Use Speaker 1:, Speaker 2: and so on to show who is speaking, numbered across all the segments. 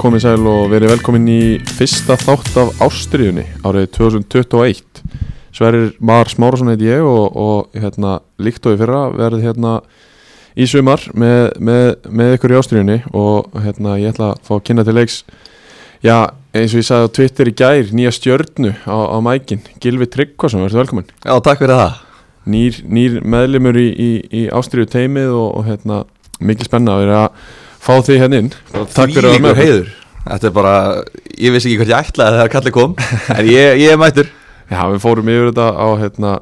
Speaker 1: komið sæl og verið velkomin í fyrsta þátt af Ástriðunni árið 2021 Sverir Mar Smárasson heit ég og, og hérna, líkt og í fyrra verið hérna í sumar með, með, með ykkur í Ástriðunni og hérna, ég ætla að fá að kynna til leiks já, eins og ég sagði á Twitter í gær nýja stjörnu á, á mækin Gilvi Tryggvason, verður velkomin
Speaker 2: Já, takk fyrir það
Speaker 1: nýr, nýr meðlimur í, í, í Ástriðu teimið og, og hérna, mikil spenna að vera að fá því hérna inn Takk fyrir að vera
Speaker 2: Þvílíkur
Speaker 1: með okkur.
Speaker 2: heiður Þetta er bara, ég vissi ekki hvort ég ætlaði þegar kallið kom En ég, ég er mættur
Speaker 1: Já, við fórum yfir þetta á hérna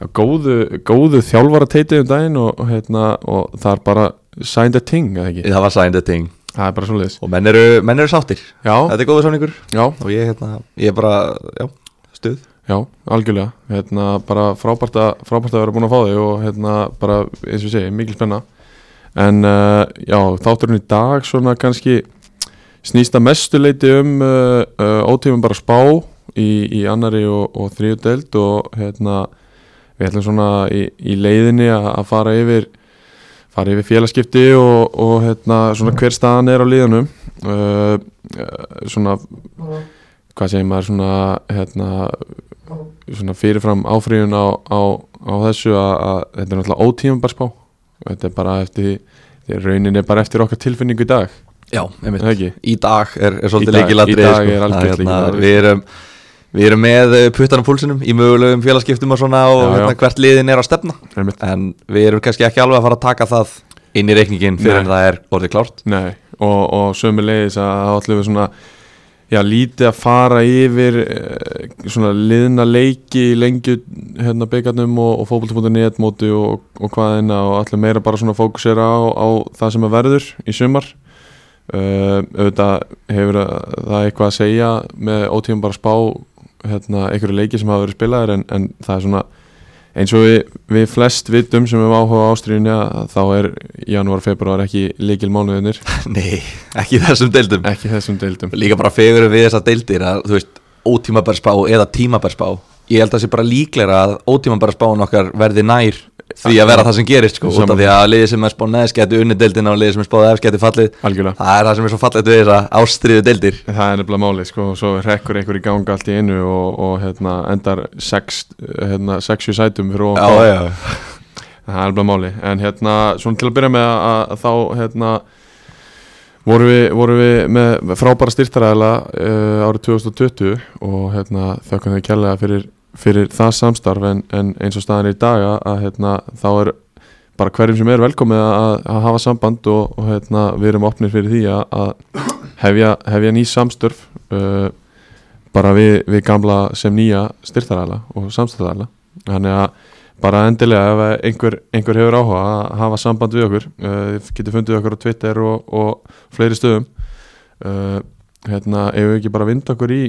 Speaker 1: á góðu, góðu þjálfara teitið um daginn og, og, hérna, og það er bara signed a ting, eða ekki?
Speaker 2: Það var signed a thing
Speaker 1: Það er bara svo leiðis.
Speaker 2: Og menn eru, menn eru sáttir
Speaker 1: Já,
Speaker 2: Þetta er góður sáningur
Speaker 1: já,
Speaker 2: Og ég, hérna, ég er bara, já, stuð
Speaker 1: já, algjörlega. Hérna, bara frábært að, frábært að vera búin að fá þig og hérna, bara, eins og ég segi, mikil spenna. En uh, já, þátturinn í dag svona kannski snýst að mestu leiti um uh, uh, ótífum bara spá í, í annari og, og þriðu deild og hérna, við ætlum svona í, í leiðinni að að fara yfir fara yfir félagskipti og, og hérna, svona hver staðan er á liðanum uh, uh, svona hvað segir maður svona, hérna, svona fyrirfram áfríðun á, á, á þessu að, að þetta er náttúrulega ótíma bara spá þetta er bara eftir því raunin er bara eftir okkar tilfinningu í dag
Speaker 2: Já,
Speaker 1: er það ekki?
Speaker 2: Í dag er, er
Speaker 1: Í
Speaker 2: svolítið sko.
Speaker 1: dag-
Speaker 2: leikilatri
Speaker 1: í dag er algjört lykilatriði.
Speaker 2: hérna, Við erum Við erum með eh, puttana á púlsinum í mögulegum félagskiptum og svona og
Speaker 1: Já, já.
Speaker 2: Hérna, hvert liðin er að stefna
Speaker 1: Einmitt.
Speaker 2: En við erum kannski ekki alveg að fara að taka það inn í reikningin fyrir
Speaker 1: Nei.
Speaker 2: en það er orðið klárt
Speaker 1: Nei, og, og sömulegis að þá ætlum við svona já, lítið að fara yfir eh, svona liðna leiki í lengju hérna byggarnum og, og fótbolta.net móti og, og hvaðina og ætlum meira bara svona að fókusera á, á það sem að verður í sumar uh, auðvitað hefur að- það eitthvað að segja með ótíðum bara spá hérna, einhverju leiki sem hafa verið spilaðir en, en það er svona eins og við, við flest vitum sem hefur áhuga ástriðinja þá er janúar, februar ekki líkil mánuðinir
Speaker 2: Nei, ekki í þessum deildum
Speaker 1: ekki þessum deildum
Speaker 2: Líka bara fegurum við þessar deildir að þú veist, ótímabær spá eða tímabær spá Ég held að það sé bara líklega að ótímabær spáin okkar verði nær því að vera það sem gerist sko, út af
Speaker 1: Sammála.
Speaker 2: því að liðið sem er spáð neðst geti unni deildina og liðið sem er spáð efst geti fallið
Speaker 1: algjörlega
Speaker 2: Það er það sem er svo fallið við þessa ástriðu deildir
Speaker 1: það er nefnilega málið sko og svo rekkur einhver í ganga allt í einu og, og hérna, endar 6 hérna, 60 sætum fyrir ofan KR.
Speaker 2: já
Speaker 1: Það er alveg máli, en hérna, svona til að byrja með að, að þá, hérna, vorum við, voru við með frábæra styrtaræðila uh, árið 2020 og hérna, þökkum þau kærlega fyrir, fyrir það samstarf en, en eins og staðan er í dag að, að hérna, þá er bara hverjum sem er velkomið að, að hafa samband og, og hérna, við erum opnir fyrir því að, að hefja, hefja ný samstörf uh, bara við, við gamla sem nýja styrtaræðila og samstarfæðila þannig að bara endilega ef að einhver, einhver hefur áhuga að hafa samband við okkur uh, þið getur fundið okkur á Twitter og, og fleiri stöðum uh, hérna, ef við ekki bara vind okkur í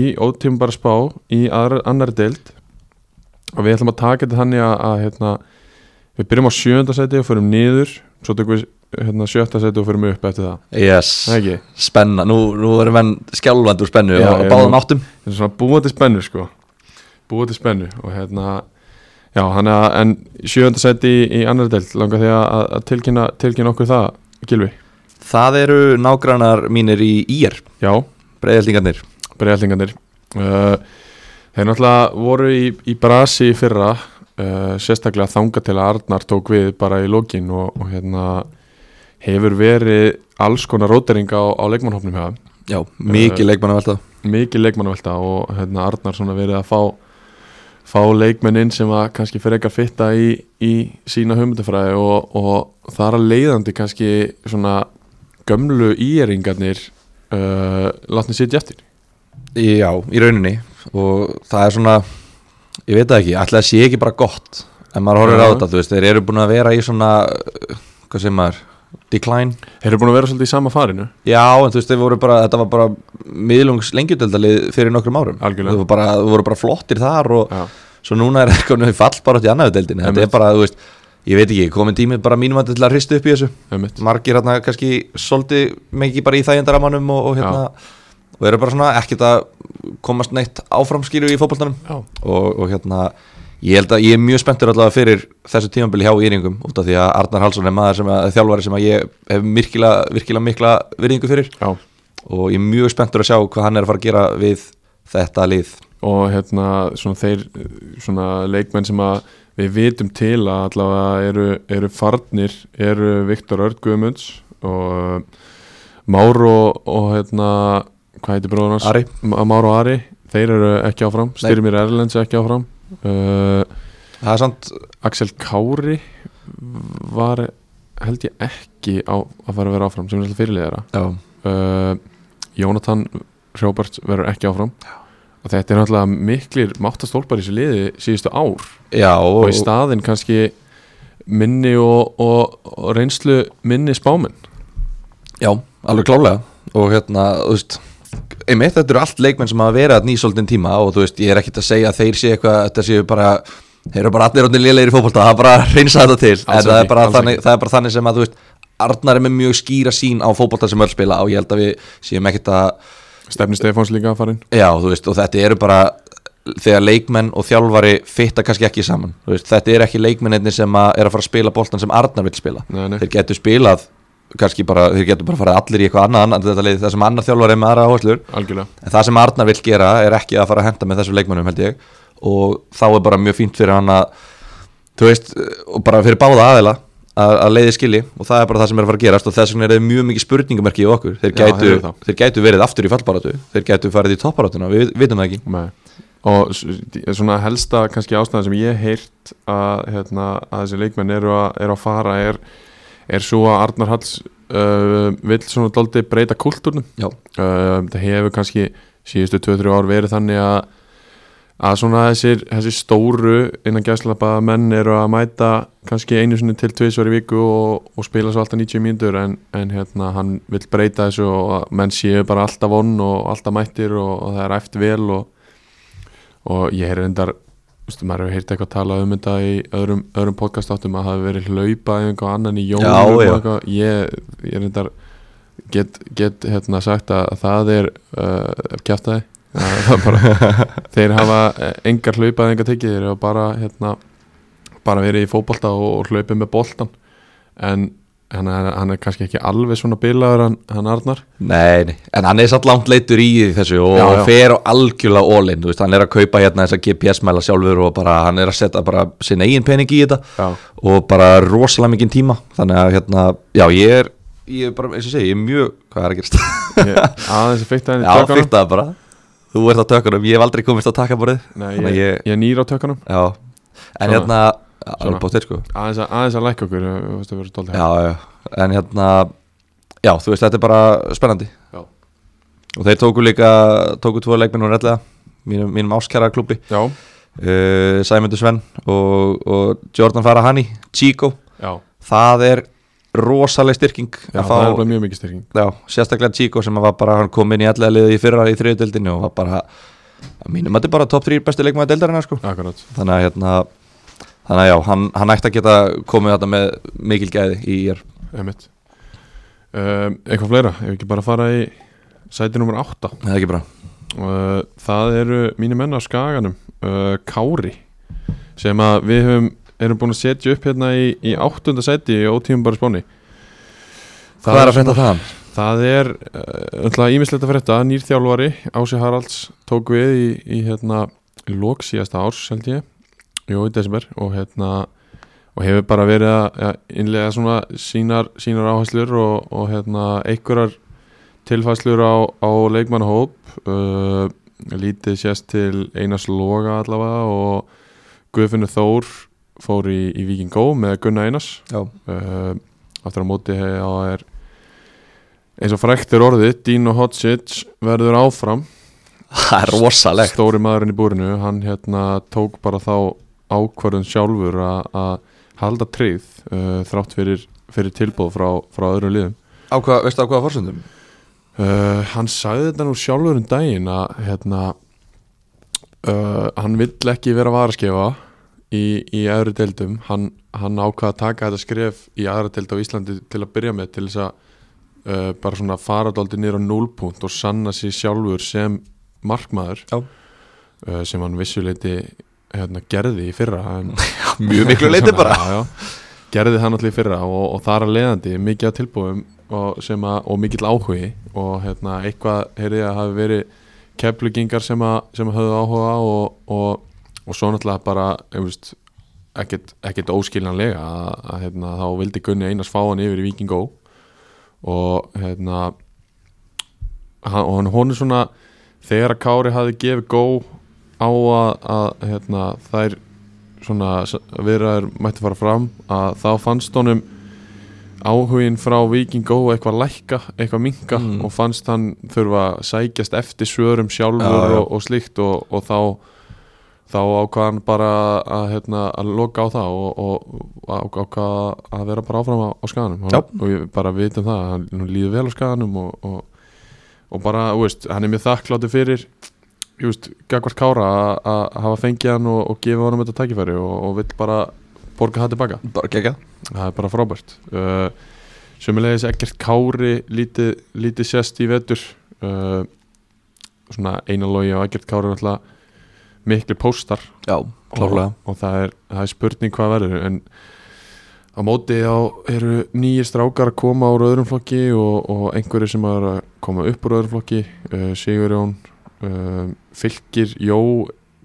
Speaker 1: í ótímbara spá í aðra, annar deild og við ætlum að taka þetta þannig að, að hérna, við byrjum á sjönda seti og förum niður svo tökum við hérna, sjötta seti og förum upp eftir það
Speaker 2: Yes,
Speaker 1: Það ekki,
Speaker 2: spenna, nú, nú erum enn skjálfandi úr spennu
Speaker 1: Já,
Speaker 2: og
Speaker 1: ég-
Speaker 2: báðum áttum
Speaker 1: þetta er svona búandi spennu sko búandi spennu og hérna já, hann er en sjöönda seti í, í annar deild langar því að, að tilkynna, tilkynna okkur það Gilvi,
Speaker 2: Það eru nágrannar mínir í ír,
Speaker 1: já,
Speaker 2: breyðeltingarnir
Speaker 1: breyðlingarnir uh, þeir náttúrulega voru í, í brasi í fyrra uh, sérstaklega þanga til að Arnar tók við bara í lokin og, og hérna hefur verið alls konar rótering á, á leikmannhopnum hjá þeim.
Speaker 2: Já, mikið leikmanna velta
Speaker 1: mikið leikmannavelta og hérna Arnar svona verið að fá fá leikmenn inn sem að kannski fyrir eitthvað fitta í, í sína hugmyndafræði og, og þar að leiðandi kannski svona gömlu íeringarnir uh, látni sitja eftir
Speaker 2: Já, í rauninni og það er svona, ég veit það ekki ætla að sé ekki bara gott en maður horfir á
Speaker 1: Já.
Speaker 2: þetta, þú veist, þeir eru búin að vera í svona uh, hvað segir maður, decline
Speaker 1: Þeir eru búin að vera svolítið í sama farinu
Speaker 2: Já, en þú veist, þeir voru bara, þetta var bara miðlungs lengjudeldalið fyrir nokkrum árum
Speaker 1: Algjörlega.
Speaker 2: Þeir voru bara, þeir voru bara flottir þar og
Speaker 1: Já,
Speaker 2: svo núna er eitthvað nú fall bara átt í annaðu deildin þetta
Speaker 1: Einmitt.
Speaker 2: er bara, þú veist, ég veit ekki, komin tími bara mínum að til að hrista upp í þessu
Speaker 1: einmitt
Speaker 2: margir hérna kannski svolítið mikið bara í þægjandaramanum og, og hérna og eru bara svona ekkert að komast neitt áframskýru í fótboltanum
Speaker 1: Já,
Speaker 2: og, og hérna ég held að ég er mjög spenntur allavega fyrir þessu tímabili hjá Íringum út af því að Arnar Halsson er maður sem að þjálfari sem að ég hef virkilega, virkilega mikla virðingu fyrir
Speaker 1: Já,
Speaker 2: og ég er mjög spenntur að sjá hvað hann er að fara að gera við þetta lið
Speaker 1: og hérna svona þeir eh, svona leikmenn sem að við vitum til að allavega eru, eru farnir eru Viktor Örd Guðmunds og Már og, og hérna hvað heitir bróður hans?
Speaker 2: Ari.
Speaker 1: M- Már og Ari, þeir eru ekki áfram
Speaker 2: Nei.
Speaker 1: Styrmir Erlends er ekki áfram uh,
Speaker 2: það er samt,
Speaker 1: Axel Kári var held ég ekki á, að fara að vera áfram sem er alltaf fyrirliðara
Speaker 2: já,
Speaker 1: uh, Jónatan Roberts verður ekki áfram og þetta er náttúrulega miklir máttastólpar í þessu liði síðustu ár
Speaker 2: já og,
Speaker 1: og í staðinn kannski minni og, og, og reynslu minni spáminn
Speaker 2: já, alveg klálega og hérna, þú veist einmitt, þetta eru allt leikmenn sem hafa verið að nýsóldin tíma og þú veist, ég er ekkert að segja að þeir sé eitthvað þetta séu bara, þeir eru bara allir átni lélegir í fótbolta, það er bara að reynsa þetta til en
Speaker 1: Alls
Speaker 2: það
Speaker 1: ekki,
Speaker 2: er, bara
Speaker 1: alls
Speaker 2: þannig,
Speaker 1: ekki.
Speaker 2: það er bara þannig sem að þú veist Arnar er með mjög skýra sín á fótbolta sem öll spila og ég held að við séum ekkert að
Speaker 1: Stefni Stefáns líka að farin
Speaker 2: já, þú veist, og þetta eru bara þegar leikmenn og þjálfari fitta kannski ekki saman, þú veist, þetta eru ekki leikmennir sem að er að fara að spila boltan sem Arnar vil spila
Speaker 1: Nei, nei.
Speaker 2: þeir getur spilað kannski bara, þeir getur bara farið allir í eitthvað annað, annað þetta leið, það sem annar þjálfari er með aðra áherslur
Speaker 1: algjörlega
Speaker 2: en það sem Arnar vil gera er ekki að fara að henda með þessum leikmennum held ég og þá er bara mjög fínt fyrir hann að þú veist, og bara fyrir báða aðila að, að leiði skilji og það er bara það sem er að fara að gerast og þess vegna er það mjög mikið spurningamerki í okkur þeir
Speaker 1: Já,
Speaker 2: gætu,
Speaker 1: heyrðu það.
Speaker 2: þeir gætu verið aftur í fallbaratu þeir gætu farið í topparatuna, við vitum það ekki
Speaker 1: Nei. og s- d- svona helsta kannski ástæðan sem ég hef heyrt að, hérna, að þessi leikmenn eru að, eru að fara er, er svo að Arnar Halls uh, vill svona daldi breyta kultúrnum
Speaker 2: Já,
Speaker 1: um, það hefur kannski síðustu 2-3 ár verið þannig að að svona þessir, þessir stóru innan gæslappa menn eru að mæta kannski einu sinni til tvisvar í viku og, og spila svo alltaf 90 mínútur en, en hérna, hann vill breyta þessu og að menn séu bara alltaf vonn og alltaf mættir og, og það er æft vel og, og ég er endar Vistu, maður hefur heyrt eitthvað tala um þetta í öðrum, öðrum podcastáttum að það hefur verið hlaupa einhver annan í
Speaker 2: Já,
Speaker 1: jólum og
Speaker 2: já.
Speaker 1: eitthvað. ég, ég er endar get, get hérna sagt að það er uh, kjæftæði bara, þeir hafa eh, engar hlaupað engar tekið þeir og bara hérna, bara verið í fótbolta og, og hlaupið með boltan en hann er, hann er kannski ekki alveg svona bilaður hann, hann Arnar
Speaker 2: Nei, nei, en hann er satt langt leitur í þessu og
Speaker 1: Já, já.
Speaker 2: fer á algjörlega all-in, þú veist, hann er að kaupa hérna þessa GPS-mæla sjálfur og bara hann er að setja bara sinn eigin pening í þetta
Speaker 1: Já.
Speaker 2: og bara rosalega mikinn tíma, þannig að hérna, já, ég er, ég er bara, eins og ég segi, ég er mjög, hvað er að gerast?
Speaker 1: ég, aðeins að fyrta henni
Speaker 2: já,
Speaker 1: í tökkanum
Speaker 2: fyrtaði bara, þú ert á tökunum, ég hef aldrei komist á takkaborðið,
Speaker 1: Nei,
Speaker 2: þannig
Speaker 1: ég,
Speaker 2: að
Speaker 1: ég,
Speaker 2: ég,
Speaker 1: er nýr á tökkanum
Speaker 2: já, en
Speaker 1: Svona.
Speaker 2: hérna,
Speaker 1: Svona.
Speaker 2: alveg bóttir sko.
Speaker 1: aðeins að, aðeins að lækka okkur eh, þú veist, það verður dálítið hægt.
Speaker 2: Já, já, en hérna Já, þú veist, þetta er bara spennandi
Speaker 1: Já.
Speaker 2: Og þeir tóku líka, tóku tvo leikminn og rellega Mínum, mínum áskæra klubbi
Speaker 1: já,
Speaker 2: uh, Sæmundur Sven og, og Jordan Farahani, Chico
Speaker 1: já,
Speaker 2: Það er rosaleg styrking
Speaker 1: já
Speaker 2: að
Speaker 1: það er
Speaker 2: fá,
Speaker 1: bara mjög mikið styrking
Speaker 2: já, sérstaklega Chico sem var bara, hann kom inn í allega liðið í fyrra í þriðudeldinu og var bara að mínum að þetta er bara top 3 bestu leikmaði deildarina sko.
Speaker 1: akkurat
Speaker 2: þannig að hérna þannig að já, hann, hann ætti að geta komið þetta með mikil gæði í ég
Speaker 1: Einmitt. Um, eitthvað fleira, ef ekki bara fara í sæti nummer 8
Speaker 2: það er ekki bra
Speaker 1: uh, það eru mínu menn á skaganum uh, Kári sem að við höfum, erum búin að setja upp hérna í, í áttunda sæti í ótímum bara spáni
Speaker 2: Hvað er að frétta þaðan?
Speaker 1: Það er uh, ímislegt að frétta, nýr þjálfari Ási Haralds tók við í, í hérna, lók síðasta árs held ég, jú, í desember og hérna, og hefur bara verið að ja, innlega svona sínar, sínar áherslur og, og hérna einhverjar tilfæslur á, á leikmannhóp uh, lítið sést til Einars Loga allavega og Guðfinnur Þór fór í, í Víkingó með Gunnar Einars
Speaker 2: Já,
Speaker 1: uh, aftur á móti á er eins og frækt er orðið Dino Hotsic verður áfram
Speaker 2: það er rosalegt
Speaker 1: stóri maðurinn í búrinu hann hérna tók bara þá ákvarðun sjálfur að að halda tryggð uh, þrátt fyrir, fyrir tilbúð frá, frá öðrum liðum
Speaker 2: á hvað, Veistu á hvaða fórsöndum?
Speaker 1: uh, hann sagði þetta nú sjálfur um daginn að hérna uh, hann vill ekki vera varaskefa í, í öðru deildum hann, hann ákvað að taka þetta skref í aðra deild á Íslandi til að byrja með til þess að uh, bara svona fara dálítið nýra núlpunkt og sanna sig sjálfur sem markmaður
Speaker 2: Já.
Speaker 1: uh, sem hann vissuleiti hérna, gerði í fyrra en,
Speaker 2: mjög miklu leiti
Speaker 1: Svona,
Speaker 2: bara
Speaker 1: já, já. gerði það náttúrulega í fyrra og, og þar að leiðandi mikið að tilbúum og, sem að, og mikill áhugi og hérna, eitthvað heyrði ég að hafi verið keflugingar sem, að, sem að höfðu áhuga á og, og, og svo náttúrulega bara ég veist, ekkert, ekkert óskiljanlega að, að hérna, þá vildi Gunni Einars fá hann yfir í Víkingó og hérna hann, og hann hún er svona þegar að Kári hafi gefið gó á að, að hérna, þær svona s- viðræður mætti fara fram að þá fannst honum áhugin frá Víkingó eitthvað lækka, eitthvað minka
Speaker 2: Mm.
Speaker 1: og fannst hann þurfa að sækjast eftir svörum sjálfur
Speaker 2: Já, já.
Speaker 1: Og, og slíkt og, og þá þá ákvað hann bara að, hérna, að loka á það og, og á- ákvað að vera bara áfram á, á skaganum
Speaker 2: Já.
Speaker 1: og, og ég bara vitum það, hann nú líður vel á skaganum og, og, og bara, þú veist, hann er mjög þakkláttur fyrir ég veist, Gagvart Kára að- að hafa fengið hann og, og gefa honum þetta tækifæri og, og vill bara borga það tilbaka
Speaker 2: bara gegja
Speaker 1: það er bara frábært uh, sömulegis ekkert kári lítið, lítið sérst í vetur uh, svona einalogi og ekkert kári er alltaf miklu póstar
Speaker 2: já, klárlega
Speaker 1: og, og það, er, það er spurning hvað verður en á móti þá eru nýjir strákar að koma úr öðrum flokki og, og einhverju sem er að koma upp úr öðrum flokki uh, Sigurjón uh, Fylkir, Jó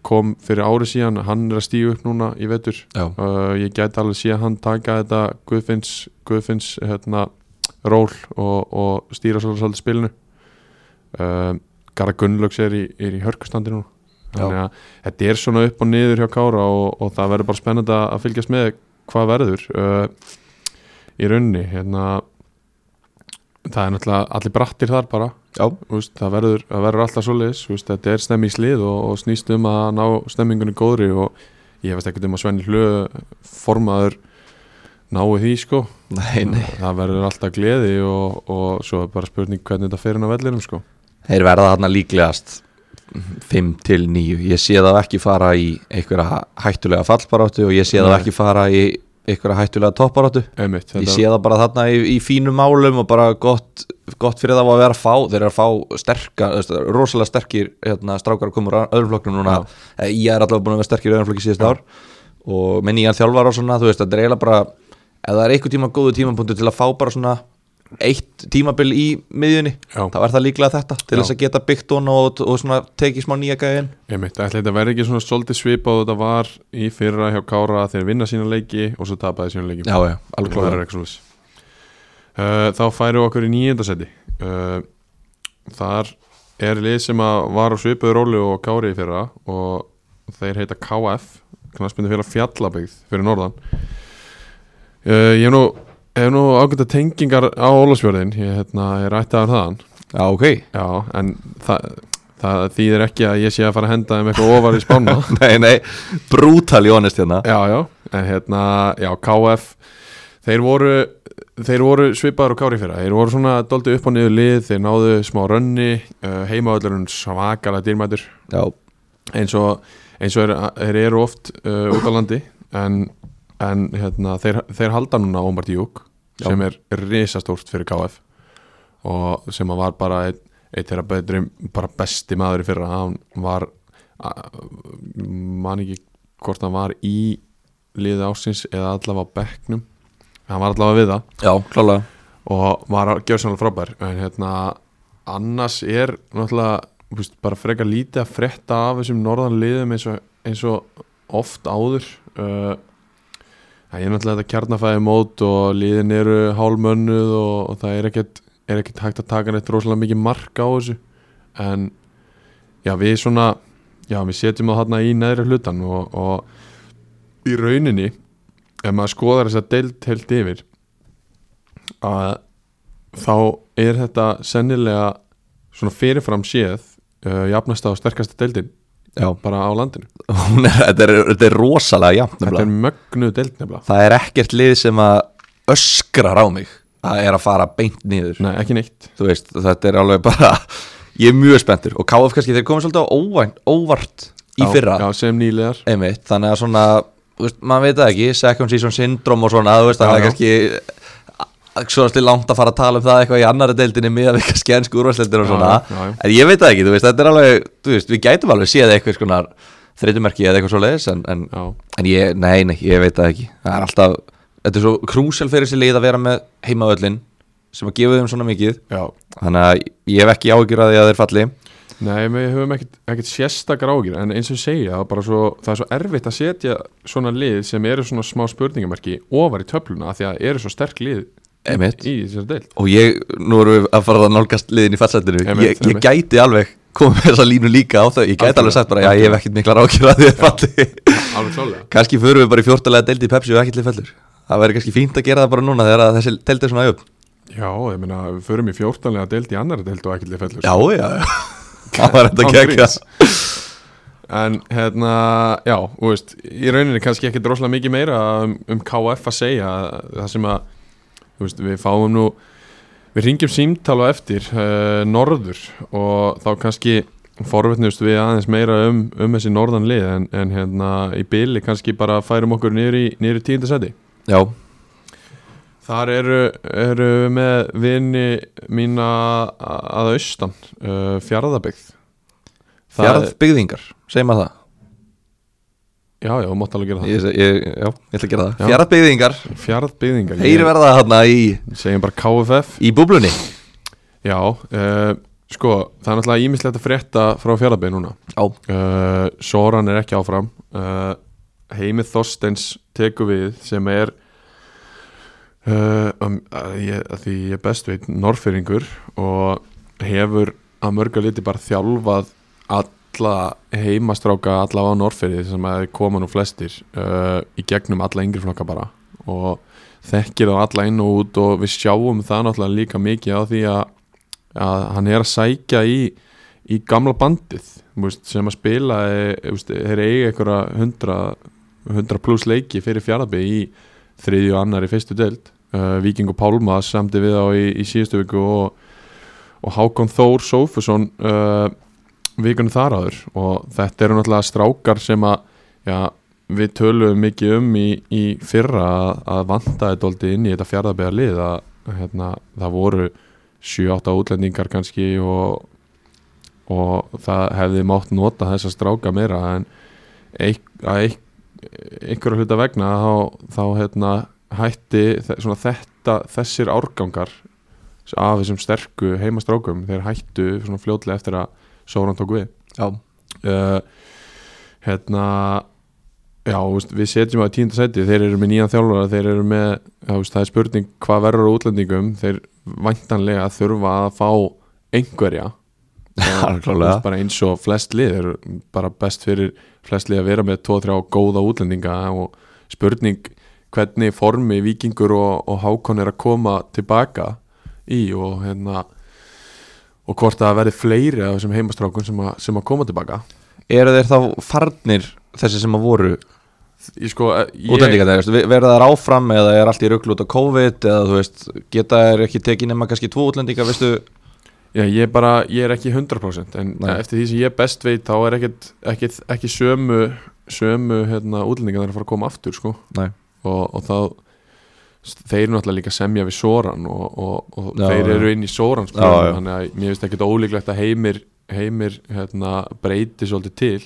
Speaker 1: kom fyrir ári síðan, hann er að stíu upp núna í vetur
Speaker 2: já,
Speaker 1: uh, ég gæti alveg síðan hann taka þetta Guðfinns, Guðfinns hérna, ról og, og stýra svolítið, svolítið spilinu uh, Garra Gunnlaugs er í, er í hörkustandi núna þannig að þetta er svona upp og niður hjá Kára og, og það verður bara spennandi að að fylgjast með hvað verður uh, í rauninni hérna, það er náttúrulega allir brattir þar bara
Speaker 2: já,
Speaker 1: Þú veist, það, verður, það verður alltaf svoleiðis Þú veist, þetta er stemmingslið og, og snýst um að ná stemmingunni góðri og ég veist ekkert um að Svenni Hlö formaður nái því sko
Speaker 2: nei, nei
Speaker 1: það verður alltaf gleði og, og svo er bara spurning hvernig þetta fer inn á vellinum sko
Speaker 2: þeir verða þarna líklegast 5 til 9, ég sé það ekki fara í einhverja hæ- hættulega fallbaráttu og ég sé það
Speaker 1: Nei.
Speaker 2: ekki fara í einhverja hættulega toppbaráttu
Speaker 1: Einmitt,
Speaker 2: ég sé það bara þarna í, í fínum málum og bara gott, gott fyrir það að vera að fá þeir eru að fá sterka, þú veist, rosalega sterkir hérna, strákar að koma úr öðrum flokknum núna, Eh, ég er allavega búin að vera sterkir í öðrum flokki síðast ár og með nýjan þjálfar og svona, þú veist, það er eiginlega bara ef það er einhver tíma góðu tímapunktu til að fá bara svona eitt tímabil í miðjunni,
Speaker 1: Já.
Speaker 2: þá er það líklega þetta til
Speaker 1: Já.
Speaker 2: þess að geta byggt hún og, og svona tekið smá nýja gæðin
Speaker 1: Einmitt, ætli þetta verður ekki svona svolítið svipað og þetta var í fyrra hjá Kára þegar vinna sína leiki og svo tapaði sína leiki
Speaker 2: já, alveg
Speaker 1: Það
Speaker 2: klára
Speaker 1: er ekki svoleiðis. Uh, þá færum við okkur í nýjöndasetti uh, Þar er lið sem að var á svipuðu rólu og Kári í fyrra og þeir heita KF knarspindu fyrir fjallabygð fyrir norðan uh, Ég hef nú, hef nú ágæta tengingar á Ólafsfjörðin ég hérna, er ættaður þaðan
Speaker 2: já, ok,
Speaker 1: Já, en það, það þýðir ekki að ég sé að fara að henda þeim eitthvað ofar í spána
Speaker 2: nei, nei brútal jónist hérna
Speaker 1: Já, já, en hérna, já, KF þeir voru, þeir voru svipaður og kári fyrra, þeir voru svona doldi upp og niður lið, þeir náðu smá rönni uh, heimaöllurinn svakalega dýrmætur
Speaker 2: já,
Speaker 1: eins og, eins og er, þeir eru oft uh, út á landi en, en hérna, þeir, þeir halda núna Omar Díuk
Speaker 2: Já.
Speaker 1: sem er risastórt fyrir KF og sem að var bara eitt, eitt þeirra betri, bara besti maður í fyrra hann var man ekki hvort hann var í liði ásins eða allavega á bekknum hann var allavega við það
Speaker 2: já, klálega
Speaker 1: og var gjörsannlega frábær en hérna annars er náttúrulega þú veist, bara frekar lítið að frétta af þessum norðan liðum eins og, eins og oft áður uh, það er náttúrulega þetta kjarnafæði mót og liðin eru hálmönnuð og, og það er ekkert, er ekkert hægt að taka neitt rosalega mikið mark á þessu en já við svona já við setjum það þarna í neðri hlutan og, og í rauninni ef maður skoðar þess að deilt heilt yfir að þá er þetta sennilega svona fyrirfram séð uh, jafnasta og sterkasta deildin
Speaker 2: já,
Speaker 1: bara á landinu.
Speaker 2: Hún er, þetta, er, þetta er rosalega jafn
Speaker 1: Þetta
Speaker 2: nefnilega.
Speaker 1: er mögnu deild nefnilega.
Speaker 2: það er ekkert lið sem að öskrar á mig að er að fara beint niður
Speaker 1: Nei, ekki neitt.
Speaker 2: þú veist, þetta er alveg bara ég er mjög spenntur og KF kannski þeir komið svolítið á óvænt, óvart í
Speaker 1: Já,
Speaker 2: fyrra,
Speaker 1: Já, sem nýlegar.
Speaker 2: einmitt, þannig að svona þú veist, maður veit það ekki, second season syndrom og svona, þú veist,
Speaker 1: Já,
Speaker 2: það er
Speaker 1: já.
Speaker 2: kannski svolítið langt að fara að tala um það eitthvað í annari deildinni miða við kannski ennsku úrvarsleildin og
Speaker 1: Já,
Speaker 2: svona
Speaker 1: já, já.
Speaker 2: en ég veit það ekki, þú veist, þetta er alveg þú veist, við gætum alveg séð eitthvað skonar þreytumerki eða eitthvað svo leiðis en, en,
Speaker 1: já,
Speaker 2: en ég, nei, nei, ég veit það ekki það er alltaf, þetta er svo krúsel fyrir sér leið að vera með heimavöllin sem að gefa þeim svona mikið
Speaker 1: já.
Speaker 2: þannig að ég hef ekki áhyggjur að því að þeir falli
Speaker 1: Nei, við höfum ekkert, ekkert sérstakar ágjur en eins og ég segja, það er, bara svo, það er svo erfitt að setja svona lið sem eru svona smá spurningamarki ofar í töfluna af því að eru svo sterk lið
Speaker 2: Einmitt.
Speaker 1: í þessari deild
Speaker 2: og ég, nú erum við að fara að nálgast liðin í fallsetinu,
Speaker 1: Einmitt,
Speaker 2: ég, ég
Speaker 1: einmitt.
Speaker 2: gæti alveg komið með þessa línu líka á þau ég gæti
Speaker 1: Algjörlega,
Speaker 2: alveg sagt bara, já, ég hef ekkert miklar ákjör að því að falli
Speaker 1: Alveg klálega
Speaker 2: kannski förum við bara í fjórtalega deildi í Pepsi og ekki til fellur það væri kannski fínt að gera það bara núna þegar að þessi deildi er svona upp
Speaker 1: Já, ég meina, við förum í fjórtanlega deild í annara deild og ekkert fellur
Speaker 2: já, já, já það var þetta
Speaker 1: Án
Speaker 2: ekki ekki
Speaker 1: gríns. En hérna, já, þú veist í rauninni kannski ekki droslega mikið meira um, um KF að segja það sem að, þú veist, við fáum nú við ringjum símtal á eftir uh, norður og þá kannski forvetnust við aðeins meira um, um þessi norðan lið en, en hérna í byli kannski bara færum okkur niður í, niður í tíundasæti
Speaker 2: já,
Speaker 1: Þar eru, eru við með vini mína að austan, uh, fjaraðabyggð. Það er-
Speaker 2: fjarrbyggðingar, segjum að það
Speaker 1: Já, já, þú mátt alveg gera það.
Speaker 2: ég, ég, já, ég ætla að gera
Speaker 1: Já.
Speaker 2: það fjarrbyggðingar,
Speaker 1: Fjaraðbyggðingar.
Speaker 2: þeir verða þarna í,
Speaker 1: Segjum bara KFF.
Speaker 2: í búblunni
Speaker 1: Já, uh, sko, það er náttúrulega ímislegt að frétta frá fjaraðbyggð núna.
Speaker 2: já,
Speaker 1: Uh, Soran er ekki áfram. Uh, Heimið Þorstens tekur við sem er, uh, um, að ég, að því ég best veit, norfyringur og hefur að mörga liti bara þjálfað alla heimastráka allavega á Norfyrði sem að þeir koma nú flestir uh, í gegnum alla yngri flokka bara og þekkir þá alla inn og út og við sjáum það náttúrulega líka mikið á því að, að hann er að sækja í, í gamla bandið þú veist, sem að spila e, þeir eiga einhverja 100, 100 pluss leiki fyrir fjarabi í þriðju og annar í fyrstu deild uh, Víking og Pálma samdi við á í, í síðustu viku og, og Hákon Þór Sófusson uh, vikunni þar áður og þetta eru náttúrulega strákar sem að já, við töluðum mikið um í, í fyrra að, að vantaði dóldi inn í þetta fjárðabæða lið að að, hérna, það voru 7-8 útlendingar kannski og, og það hefði mátt nota þessa stráka meira en eik, að eik, einhverju hluta vegna þá, þá hérna, hætti þe- svona þetta, þessir árgangar af þessum sterku heimastrákum þeir hættu svona fljótlega eftir að Sóran tók við
Speaker 2: já,
Speaker 1: uh, hérna já, þú veist, við setjum að tínda sæti þeir eru með nýjan þjálfara, þeir eru með já, þú veist, það er spurning hvað verður á útlendingum þeir væntanlega þurfa að fá einhverja Eh,
Speaker 2: Já,
Speaker 1: Þú
Speaker 2: klárlega.
Speaker 1: veist, bara eins og flest lið er bara best fyrir flest lið að vera með 2-3 góða útlendinga og spurning hvernig formi vikingur og, og hákon er að koma tilbaka í og hérna og hvort að það verði fleiri af þessum heimastrákun sem, að- sem að koma tilbaka
Speaker 2: eru þeir þá farnir þessi sem að voru
Speaker 1: ég sko eh, ég,
Speaker 2: útlendingarnir, veistu, verða þær áfram eða er allt í rugglu út á COVID eða þú veist, geta þær ekki tekið nema kannski tvo útlendingar, veistu
Speaker 1: já, ég, bara, ég er ekki 100% en
Speaker 2: Nei.
Speaker 1: eftir því sem ég best veit þá er ekkit, ekkit, ekki sömu sömu hérna, útlendingar að fara að koma aftur sko.
Speaker 2: Nei.
Speaker 1: og, og þá þeir eru náttúrulega líka að semja við Soran og, og, og
Speaker 2: Já,
Speaker 1: þeir
Speaker 2: já.
Speaker 1: eru inn í Sorans
Speaker 2: Já, já.
Speaker 1: plan, þannig að mér finnst ekkit ólíklegt að heimir, heimir hérna, breyti svolítið til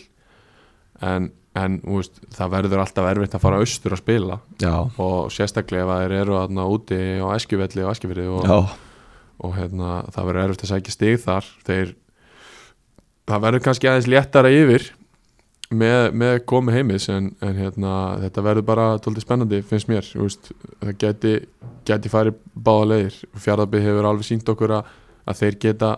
Speaker 1: en, en þú veist, það verður alltaf erfitt að fara austur að spila
Speaker 2: Já,
Speaker 1: og sérstaklega ef að þeir eru þarna úti á Eskjuvelli og Eskjufyrði og,
Speaker 2: já,
Speaker 1: og hérna, það verður erfitt að sækja stig þar þeir, það verður kannski aðeins léttara yfir með, með komi heimis en, en hérna, þetta verður bara tóldi spennandi finnst mér, þú veist, það geti geti farið báða leiðir Fjarðabíð hefur alveg sínt okkur að, að þeir geta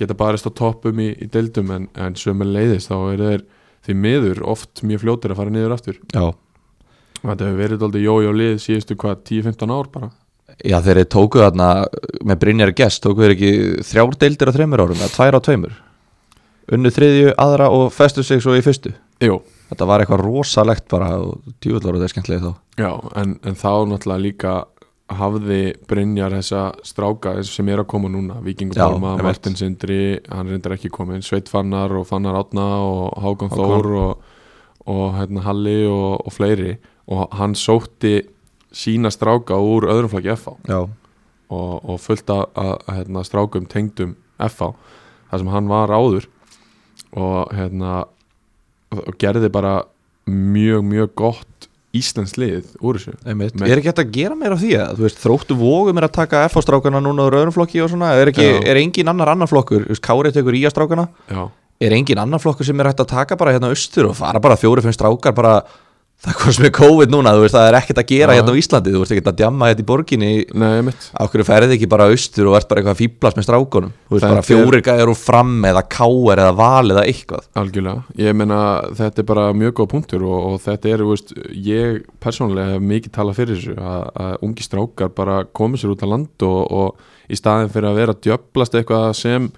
Speaker 1: geta barist á toppum í, í deildum en, en sömu leiðis þá eru þeir því miður oft mjög fljótir að fara niður aftur
Speaker 2: já
Speaker 1: þetta hefur verið tóldi jójó lið síðustu hvað 10-15 ár bara
Speaker 2: Já, þeir eru tókuð þarna með Brynjar Gest, tókuð þeir ekki þrjár deildir á þreymur árum, eða tvær á tveimur unnu þriðju, aðra og festu sig svo í fyrstu.
Speaker 1: Jú,
Speaker 2: Þetta var eitthvað rosalegt bara og djúvöldar og það er skemmtilega þá.
Speaker 1: Já, en, en þá náttúrulega líka hafði Brynjar þessa stráka sem er að koma núna, Víkingur
Speaker 2: Já,
Speaker 1: Pálma,
Speaker 2: einmitt.
Speaker 1: Martin Sindri hann reyndar ekki komin, Sveit Fannar og Fannar Átna og Hákon
Speaker 2: Hákon.
Speaker 1: Þór og, og hérna Halli og, og fleiri og hann sótti sína stráka úr öðrum flakki FH
Speaker 2: Já,
Speaker 1: og, og fullt af, af hérna, strákum tengdum FH þar sem hann var áður og hérna og gerði bara mjög, mjög gott Íslands lið úr þessu
Speaker 2: Einmitt.
Speaker 1: Með-
Speaker 2: Er ekki hægt að gera meira af því að þú veist, þróttu vógum er að taka FH-strákana núna úr öðrum flokki og svona, er, ekki,
Speaker 1: Já.
Speaker 2: er engin annar annar flokkur, þú veist, Kári tekur IA-strákana
Speaker 1: Já,
Speaker 2: er engin annar flokkur sem er hægt að taka bara hérna austur og fara bara fjóri, fimm strákar bara það er hvað sem er COVID núna, þú veist, það er ekkert að gera
Speaker 1: Já.
Speaker 2: hérna á Íslandi, þú veist, ekkert að djamma hérna í borginni
Speaker 1: nei, mitt
Speaker 2: á hverju ferði ekki bara austur og ert bara eitthvað að fýblast með strákunum, þú veist,
Speaker 1: Þetta
Speaker 2: bara fjóri gæjar og fram eða káar eða val eða eitthvað
Speaker 1: Algjörlega, ég meina þetta er bara mjög góð punktur og, og þetta er, þú veist, ég persónulega hef mikið talað fyrir þessu að, að ungi strákar bara komið sér út á land og, og í staðin fyrir að vera að djöblast eitthvað sem,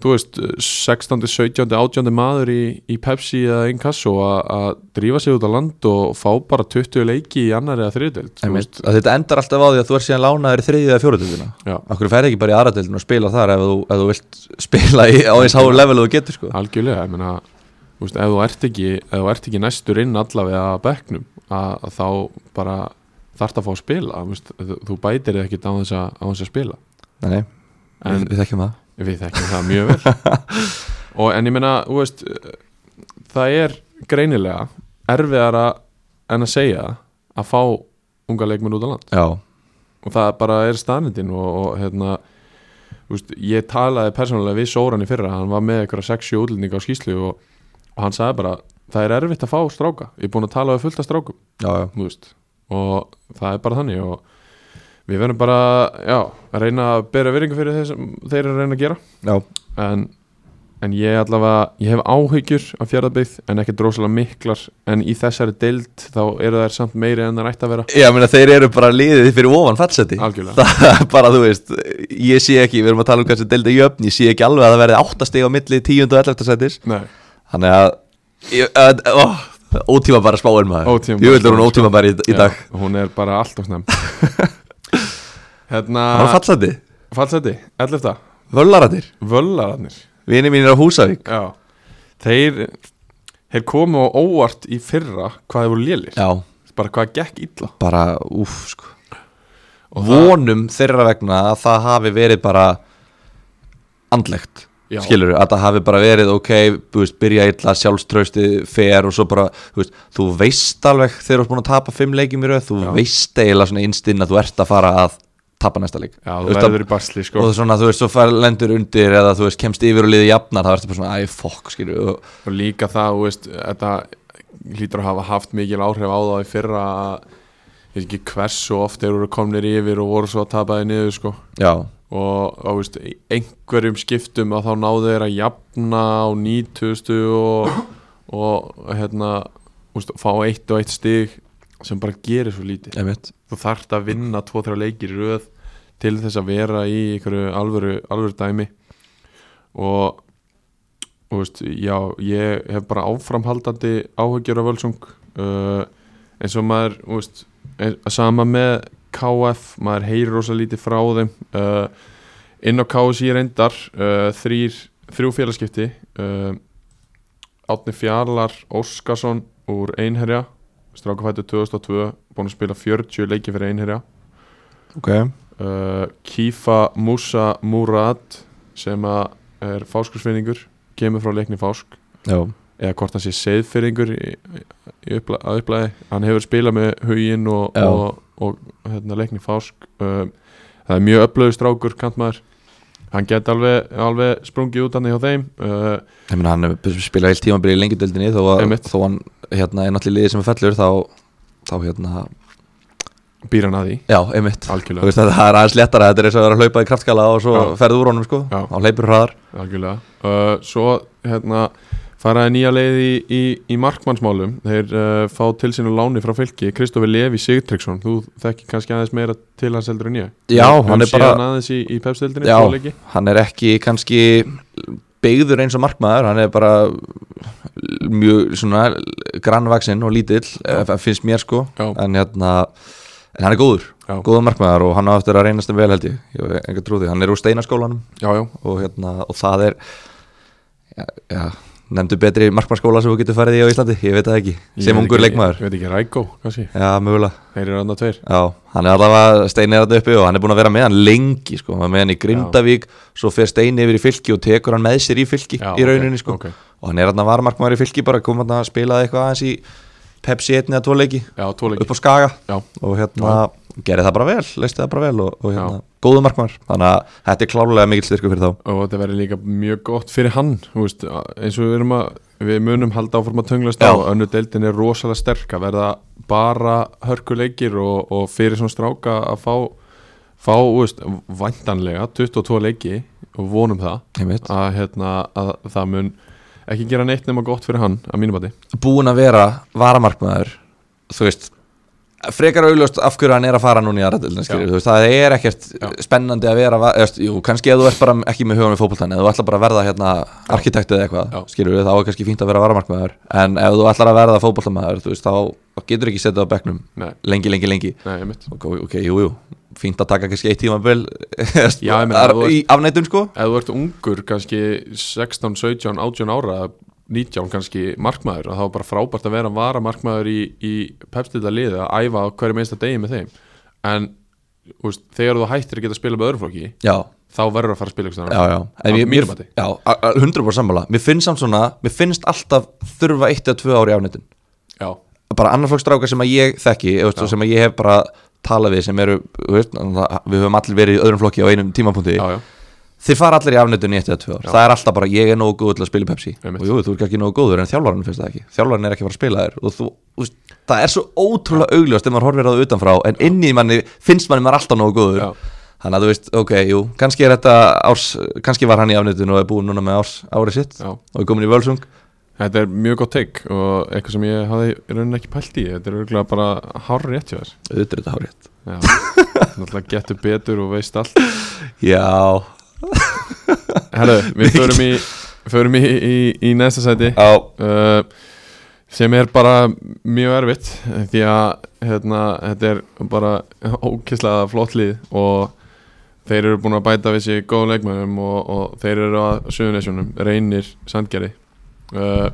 Speaker 1: þú veist, 16. 17. 18. maður í, í Pepsi eða Inkasso að, að drífa sér út á land og fá bara 20 leiki í annari eða þriðdelt, þú
Speaker 2: Einmitt. að þetta endar alltaf á því að þú ert síðan lánaður í þriðið eða fjóruðildina
Speaker 1: Já.
Speaker 2: Akkur ferði ekki bara í aðradeildin og spila þar ef þú, ef þú vilt spila í, á eins háu level og þú getur sko
Speaker 1: Algjörlega, ég meina þú veist, ef, þú ert ekki, ef þú ert ekki næstur inn allavega að bekknum að, að þá bara þarft að fá að spila þú veist, þú, þú bætir þig ekkit á þess að, á þess að spila
Speaker 2: Nei, nei,
Speaker 1: en
Speaker 2: við, við þekkjum það
Speaker 1: við þekkjum það mjög vel og en ég meina, þú veist eh, það er greinilega erfiðara en að segja að fá unga leikmenn út á land
Speaker 2: Já,
Speaker 1: og það bara er staðnindin og, og hérna þú veist, ég talaði persónulega við Sóran í fyrra hann var með eitthvað 6-7 útlendinga á skýslu og, og hann sagði bara það er erfitt að fá stráka, ég er búin að tala við fullt af strákum
Speaker 2: já, já
Speaker 1: þú veist, og það er bara þannig og við verðum bara já, að reyna að bera virðingu fyrir þeir sem þeir eru að reyna að gera
Speaker 2: Já,
Speaker 1: en, en ég allavega, ég hef áhyggjur af fjörðarbyggð en ekki drosalega miklar en í þessari deild þá eru þær samt meiri en það rætt að vera
Speaker 2: ég meina þeir eru bara liðið fyrir ofan fatseti
Speaker 1: Algjörlega.
Speaker 2: Það er bara, þú veist, ég sé ekki, við erum að tala um kannski deildi jöfn Ég sé ekki alveg að það verði áttastig á milli 10. og 11. setis
Speaker 1: Nei,
Speaker 2: Þannig að, ég, að ó, ótíma bara spáin maður
Speaker 1: Ótímabær
Speaker 2: Ég vil er hún
Speaker 1: spáin, sko.
Speaker 2: ótíma bara í, í dag
Speaker 1: Já, hún er bara alltaf snem Hérna
Speaker 2: Það var fatseti,
Speaker 1: Fallseti, 11.
Speaker 2: völlaratir,
Speaker 1: Völlararnir
Speaker 2: vini mínir á Húsavík
Speaker 1: Já Þeir, þeir komu á óvart í fyrra hvað þeir voru lélir
Speaker 2: Já,
Speaker 1: Bara hvað gekk illa
Speaker 2: bara, úf, sko
Speaker 1: Og það-
Speaker 2: vonum þeirra vegna að það hafi verið bara andlegt
Speaker 1: Já.
Speaker 2: skilur, að það hafi bara verið ok, þú veist, byrja illa, sjálfströsti fer og svo bara, þú veist, þú veist alveg þegar þú ert búin að tapa fimm leikjum í röð þú
Speaker 1: Já.
Speaker 2: veist eiginlega svona innstinn að þú ert að fara að tapa næsta leik
Speaker 1: Já,
Speaker 2: Þú
Speaker 1: þú
Speaker 2: veist
Speaker 1: verður í basli
Speaker 2: og
Speaker 1: sko
Speaker 2: þú svona, þú veist, svo fær lendur undir eða þú veist, kemst yfir og liði jafnar þá ertu bara svona, æ, fokk, skilur og,
Speaker 1: Og líka það, þú veist, þetta hlýtur að hafa haft mikil áhrif á það í fyrra að ég veit ekki hversu oft þeir eru komnir yfir og voru svo að tapa þeir niður sko
Speaker 2: já,
Speaker 1: og á, veist, í einhverjum skiptum að þá náðu þeir að jafna á 90 og, og hérna veist, fá eitt og eitt stig sem bara gerir svo lítið
Speaker 2: einmitt
Speaker 1: þú þarft að vinna 2-3 leikir í röð til þess að vera í einhverju alvöru, alvöru dæmi og og veist, já, ég hef bara áframhaldandi áhugjur af Völsung uh, eins og maður þú veist, ein- sama með KF maður heyrir rosa lítið frá þeim uh, inn á KSI reyndar uh, þrýr, þrjú félagskipti uh, Átni Fjarlar Óskarsson úr Einherja strákafættu 2002 búin að spila 40 leiki fyrir Einherja
Speaker 2: ok,
Speaker 1: uh, Kífa Musa Murad sem að er fáskursfinningur kemur frá leikni fásk
Speaker 2: já,
Speaker 1: eða hvort hann sé seiðfyrringur í, í uppla, að upplæði hann hefur spilað með huginn og,
Speaker 2: Já.
Speaker 1: og, og hérna, leikni fásk um, það er mjög upplöðu strákur kantmaður hann get alveg, alveg sprungið út hann hjá þeim uh,
Speaker 2: ég meina hann hefur spilað heilt tíma byrja í lengjadeildinni þó að,
Speaker 1: Einmitt.
Speaker 2: þó hann hérna er náttúrulega í liði sem er fellur þá, þá hérna,
Speaker 1: býr hann að því
Speaker 2: já, einmitt Þú
Speaker 1: algjörlega,
Speaker 2: veist að það er aðeins léttara, þetta er eins og að vera að hlaupa í kraftkala og svo
Speaker 1: Já.
Speaker 2: ferðu úr honum sko,
Speaker 1: Já.
Speaker 2: þá hleypur hraðar
Speaker 1: algjörlega. Uh, svo hérna faraði nýja leið í, í, í markmannsmálum þeir uh, fá til sínu láni frá fylki Kristofi Levi Sigtryggsson þú þekki kannski aðeins meira til hans heldur en ég Við
Speaker 2: Já,
Speaker 1: höfum
Speaker 2: hann er
Speaker 1: séð
Speaker 2: bara-
Speaker 1: hann aðeins í, í pepsdeildinni
Speaker 2: Já.
Speaker 1: tvo leiki.
Speaker 2: Hann er ekki kannski byggður eins og markmaður, hann er bara mjög svona grannvaksinn og lítill, eh, finnst mér sko
Speaker 1: Já.
Speaker 2: en hérna en hann er góður,
Speaker 1: Já.
Speaker 2: góður markmaður og hann á eftir að reynast um vel held ég, ég hef enga trú á því hann er úr steinaskólanum
Speaker 1: já, já,
Speaker 2: og hérna, og það er já, já nefndu betri markmaðskóla sem þú getur farið í á Íslandi, ég veit það ekki
Speaker 1: Ég
Speaker 2: sem
Speaker 1: veit
Speaker 2: ungur
Speaker 1: ekki-
Speaker 2: leikmaður,
Speaker 1: Ég veit ekki, Rækó, kannski
Speaker 2: já mögulega
Speaker 1: Þeir eru annað tveir
Speaker 2: Já, hann er allavega Steini er þetta uppi og hann er búin að vera með hann lengi sko, hann var með hann í Grindavík svo fer Steini yfir í fylki og tekur hann með sér í fylki
Speaker 1: Já,
Speaker 2: í rauninni
Speaker 1: ok,
Speaker 2: sko
Speaker 1: ok.
Speaker 2: og hann er hann að varamarkmaður í fylki bara kom hann að spila eitthvað aðeins í Pepsi 1 eða 2 leiki
Speaker 1: Já, tóleiki
Speaker 2: upp á Skaga
Speaker 1: Já,
Speaker 2: og hérna gerði það bara vel, leisti það bara vel og, og hérna,
Speaker 1: Já.
Speaker 2: góðu markmaður þannig að þetta er klárlega mikill styrku fyrir þá
Speaker 1: og þetta verður líka mjög gott fyrir hann þú veist, eins og við erum að við munum halda áfram að tönglast
Speaker 2: Já.
Speaker 1: á önnu deildin er rosalega sterk að verða bara hörkuleikir og, og fyrir svona stráka að fá fá, þú veist, væntanlega 22 leiki og vonum það
Speaker 2: Einmitt.
Speaker 1: að, hérna, að það mun ekki gera neitt nema gott fyrir hann að mínum bati
Speaker 2: búin að vera varamarkmaður þú veist frekar auðljóst af hverju hann er að fara núna í aðrættilina
Speaker 1: Já.
Speaker 2: skilur, þú veist, það er ekkert
Speaker 1: Já.
Speaker 2: spennandi að vera, va- eðst, jú, kannski ef þú ert bara ekki með hugan við fótboltan, ef þú ætlar bara að verða hérna arkitekt eða eitthvað,
Speaker 1: Já.
Speaker 2: skilur þá er kannski fínt að vera varamarkmaður, en ef þú ætlar að verða fótboltamaður, þú veist, þá getur ekki setið á bekknum
Speaker 1: Nei,
Speaker 2: lengi, lengi, lengi
Speaker 1: nei, einmitt
Speaker 2: ok, ok, jú, jú, fínt að taka kannski eitt tíma vel
Speaker 1: Já, ég meina, þú
Speaker 2: í afnættum sko
Speaker 1: Ef þú ert ungur, kannski 16, 17, 18 ára 19 kannski markmaður og þá er bara frábært að vera varamarkmaður í, í pepstilda liði að æfa á hverju einsta degi með þeim en úst, þegar þú hættir að geta að spila með öðruflokki
Speaker 2: já,
Speaker 1: þá verður að fara að spila ykkur
Speaker 2: já, já. En
Speaker 1: Að
Speaker 2: ég-
Speaker 1: mínu
Speaker 2: mér-
Speaker 1: mati.
Speaker 2: já, a- a- 100% sammála mér finnst samt svona, mér finnst alltaf þurfa eitt eða tvö ári afnættin
Speaker 1: já,
Speaker 2: bara annarflokksstrákar sem að ég þekki eða, veist, og sem að ég hef bara talað við sem eru, þú veist, náttúrulega, við höfum allir verið í öðrum flokki á einum tímapunkti
Speaker 1: já, já,
Speaker 2: þið fara allir í afnættun í eitt eða tvö ár
Speaker 1: Já.
Speaker 2: það er alltaf bara, ég er nógu góður til að spila í Pepsi
Speaker 1: Einmitt.
Speaker 2: og jú, þú er ekki nógu góður en þjálfarinn finnst það ekki þjálfarinn er ekki að fara að spila þér og þú, þú veist, það er svo ótrúlega augljóst ef maður horfir á það utanfrá en inni í manni finnst manni maður alltaf nógu góður
Speaker 1: Já.
Speaker 2: þannig að þú veist, ok, jú, kannski er þetta árs, kannski var hann í afnættun og er búinn núna með árs, árið sitt
Speaker 1: já
Speaker 2: og er komin í Völsung
Speaker 1: Þetta er mjög gott teik og eitthvað sem ég hafði í rauninni ekki pælt í þetta er örgulega bara hár rétt hjá þér
Speaker 2: auðvitað er þetta hárið
Speaker 1: Já, náttúrulega getur betur og veist allt
Speaker 2: já,
Speaker 1: Herðu, við förum í, förum í, í, í næsta sæti
Speaker 2: á,
Speaker 1: uh, sem er bara mjög erfitt því að hérna, þetta er bara ókyslega flott lið og þeir eru búin að bæta við sér góðum leikmönnum og, og þeir eru að Suðunesjónum, reynir sandgerði uh,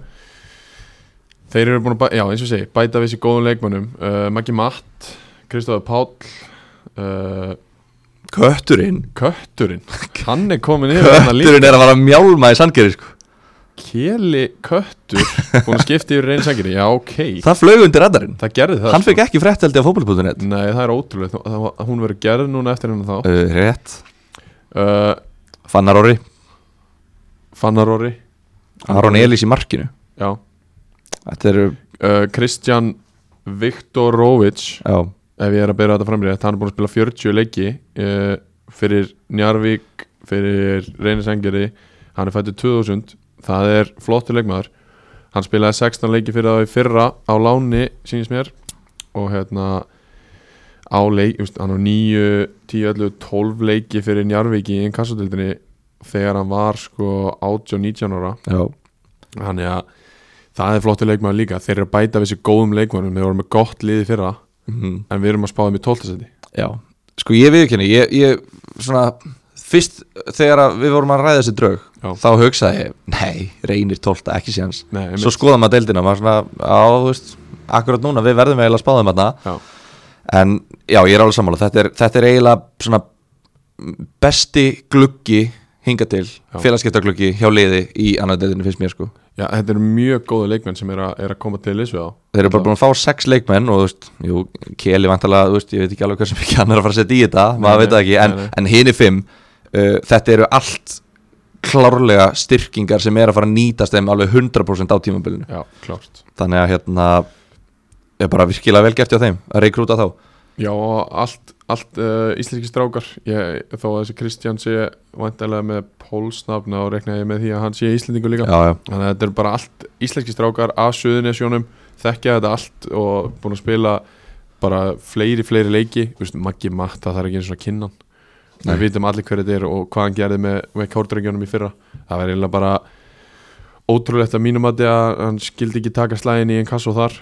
Speaker 1: þeir eru búin að bæta, já eins og ég segi bæta við sér góðum leikmönnum, uh, Maggi Matt Kristofur Páll uh,
Speaker 2: kötturinn
Speaker 1: Kötturinn, hann er komin yfir þarna líka.
Speaker 2: kötturinn er að vara að mjálma í sandgeri sko.
Speaker 1: Keli Köttur búin að skipta yfir reynir sandgerði, já ok
Speaker 2: það flög undir radarinn
Speaker 1: það gerði það sko.
Speaker 2: hann fekk ekki frétt held ég á fótbolli.net
Speaker 1: Nei, það er ótrúlega, Þó- það, var- hún verður gerð núna eftir hennar þá
Speaker 2: uh, rétt,
Speaker 1: uh,
Speaker 2: Fannar Orri
Speaker 1: Fannaróri
Speaker 2: Aron Elís í markinu
Speaker 1: Já
Speaker 2: Þetta eru,
Speaker 1: uh, Kristjan Viktorovic
Speaker 2: já,
Speaker 1: Ef ég er að byrja þetta framrið Hann er búin að spila 40 leiki uh, Fyrir Njarvík Fyrir Reynisengeri Hann er fættur 2000 Það er flottur leikmaður Hann spilaði 16 leiki fyrir það í fyrra Á láni, sýnist mér Og hérna á leik, just, hann á 9, 10, 11, 12 leiki fyrir Njarvík í inkassotildinni þegar hann var sko 18, 19 ára
Speaker 2: já,
Speaker 1: þannig að það er flottur leikmaður líka þeir eru að bæta við sér góðum leikmannum þeir voru með gott liði fyrra
Speaker 2: mm,
Speaker 1: en við erum að spá þeim í 12. seti
Speaker 2: já Sko ég viðkynni, ég, ég svona Fyrst þegar að við vorum að ræða þessi draug
Speaker 1: Já.
Speaker 2: Þá hugsaði ég, nei, reynir 12, ekki séans
Speaker 1: Nei,
Speaker 2: Svo skoða maður deildina, maður svona, á, þú veist Akkurat núna, við verðum eiginlega að spáðum þarna
Speaker 1: Já.
Speaker 2: En já, ég er alveg sammála Þetta er, þetta er eiginlega svona Besti gluggi hinga til
Speaker 1: Já.
Speaker 2: Félagskiptagluggi hjá liði í annar deildinu finnst mér sko
Speaker 1: Já, þetta eru mjög góðu leikmenn sem er, a, er að koma til liðs við á
Speaker 2: þeir eru bara búin að fá sex leikmenn og þú veist, jú, Keli vantalega, þú veist, ég veit ekki alveg hversu mikið hann er að fara að setja í þetta, maður
Speaker 1: nei,
Speaker 2: veit það ekki, en,
Speaker 1: nei, nei.
Speaker 2: en hini fimm, uh, þetta eru allt klárlega styrkingar sem er að fara að nýtast þeim alveg 100% á tímabilinu,
Speaker 1: Já, klárt
Speaker 2: þannig að hérna, er bara virkilega vel gert hjá þeim að rekrúta þá,
Speaker 1: Já, og allt, allt uh, íslenski strákar ég, þó að þessi Kristján sé vantarlega með pólsnafna og rekna ég með því að hann sé íslendingu líka
Speaker 2: já, já,
Speaker 1: Þannig að þetta eru bara allt íslenski strákar af Suðunesjónum, þekkja þetta allt og búin að spila bara fleiri, fleiri leiki, Þú veist, Maggi Matt það þarf ekki eins og að kynna hann
Speaker 2: Nei.
Speaker 1: við vitum allir hverju þetta er og hvað hann gerði með, með kórdrengjónum í fyrra, það var eiginlega bara ótrúlegt að mínum að hann skildi ekki taka slæðin í einn kassu þar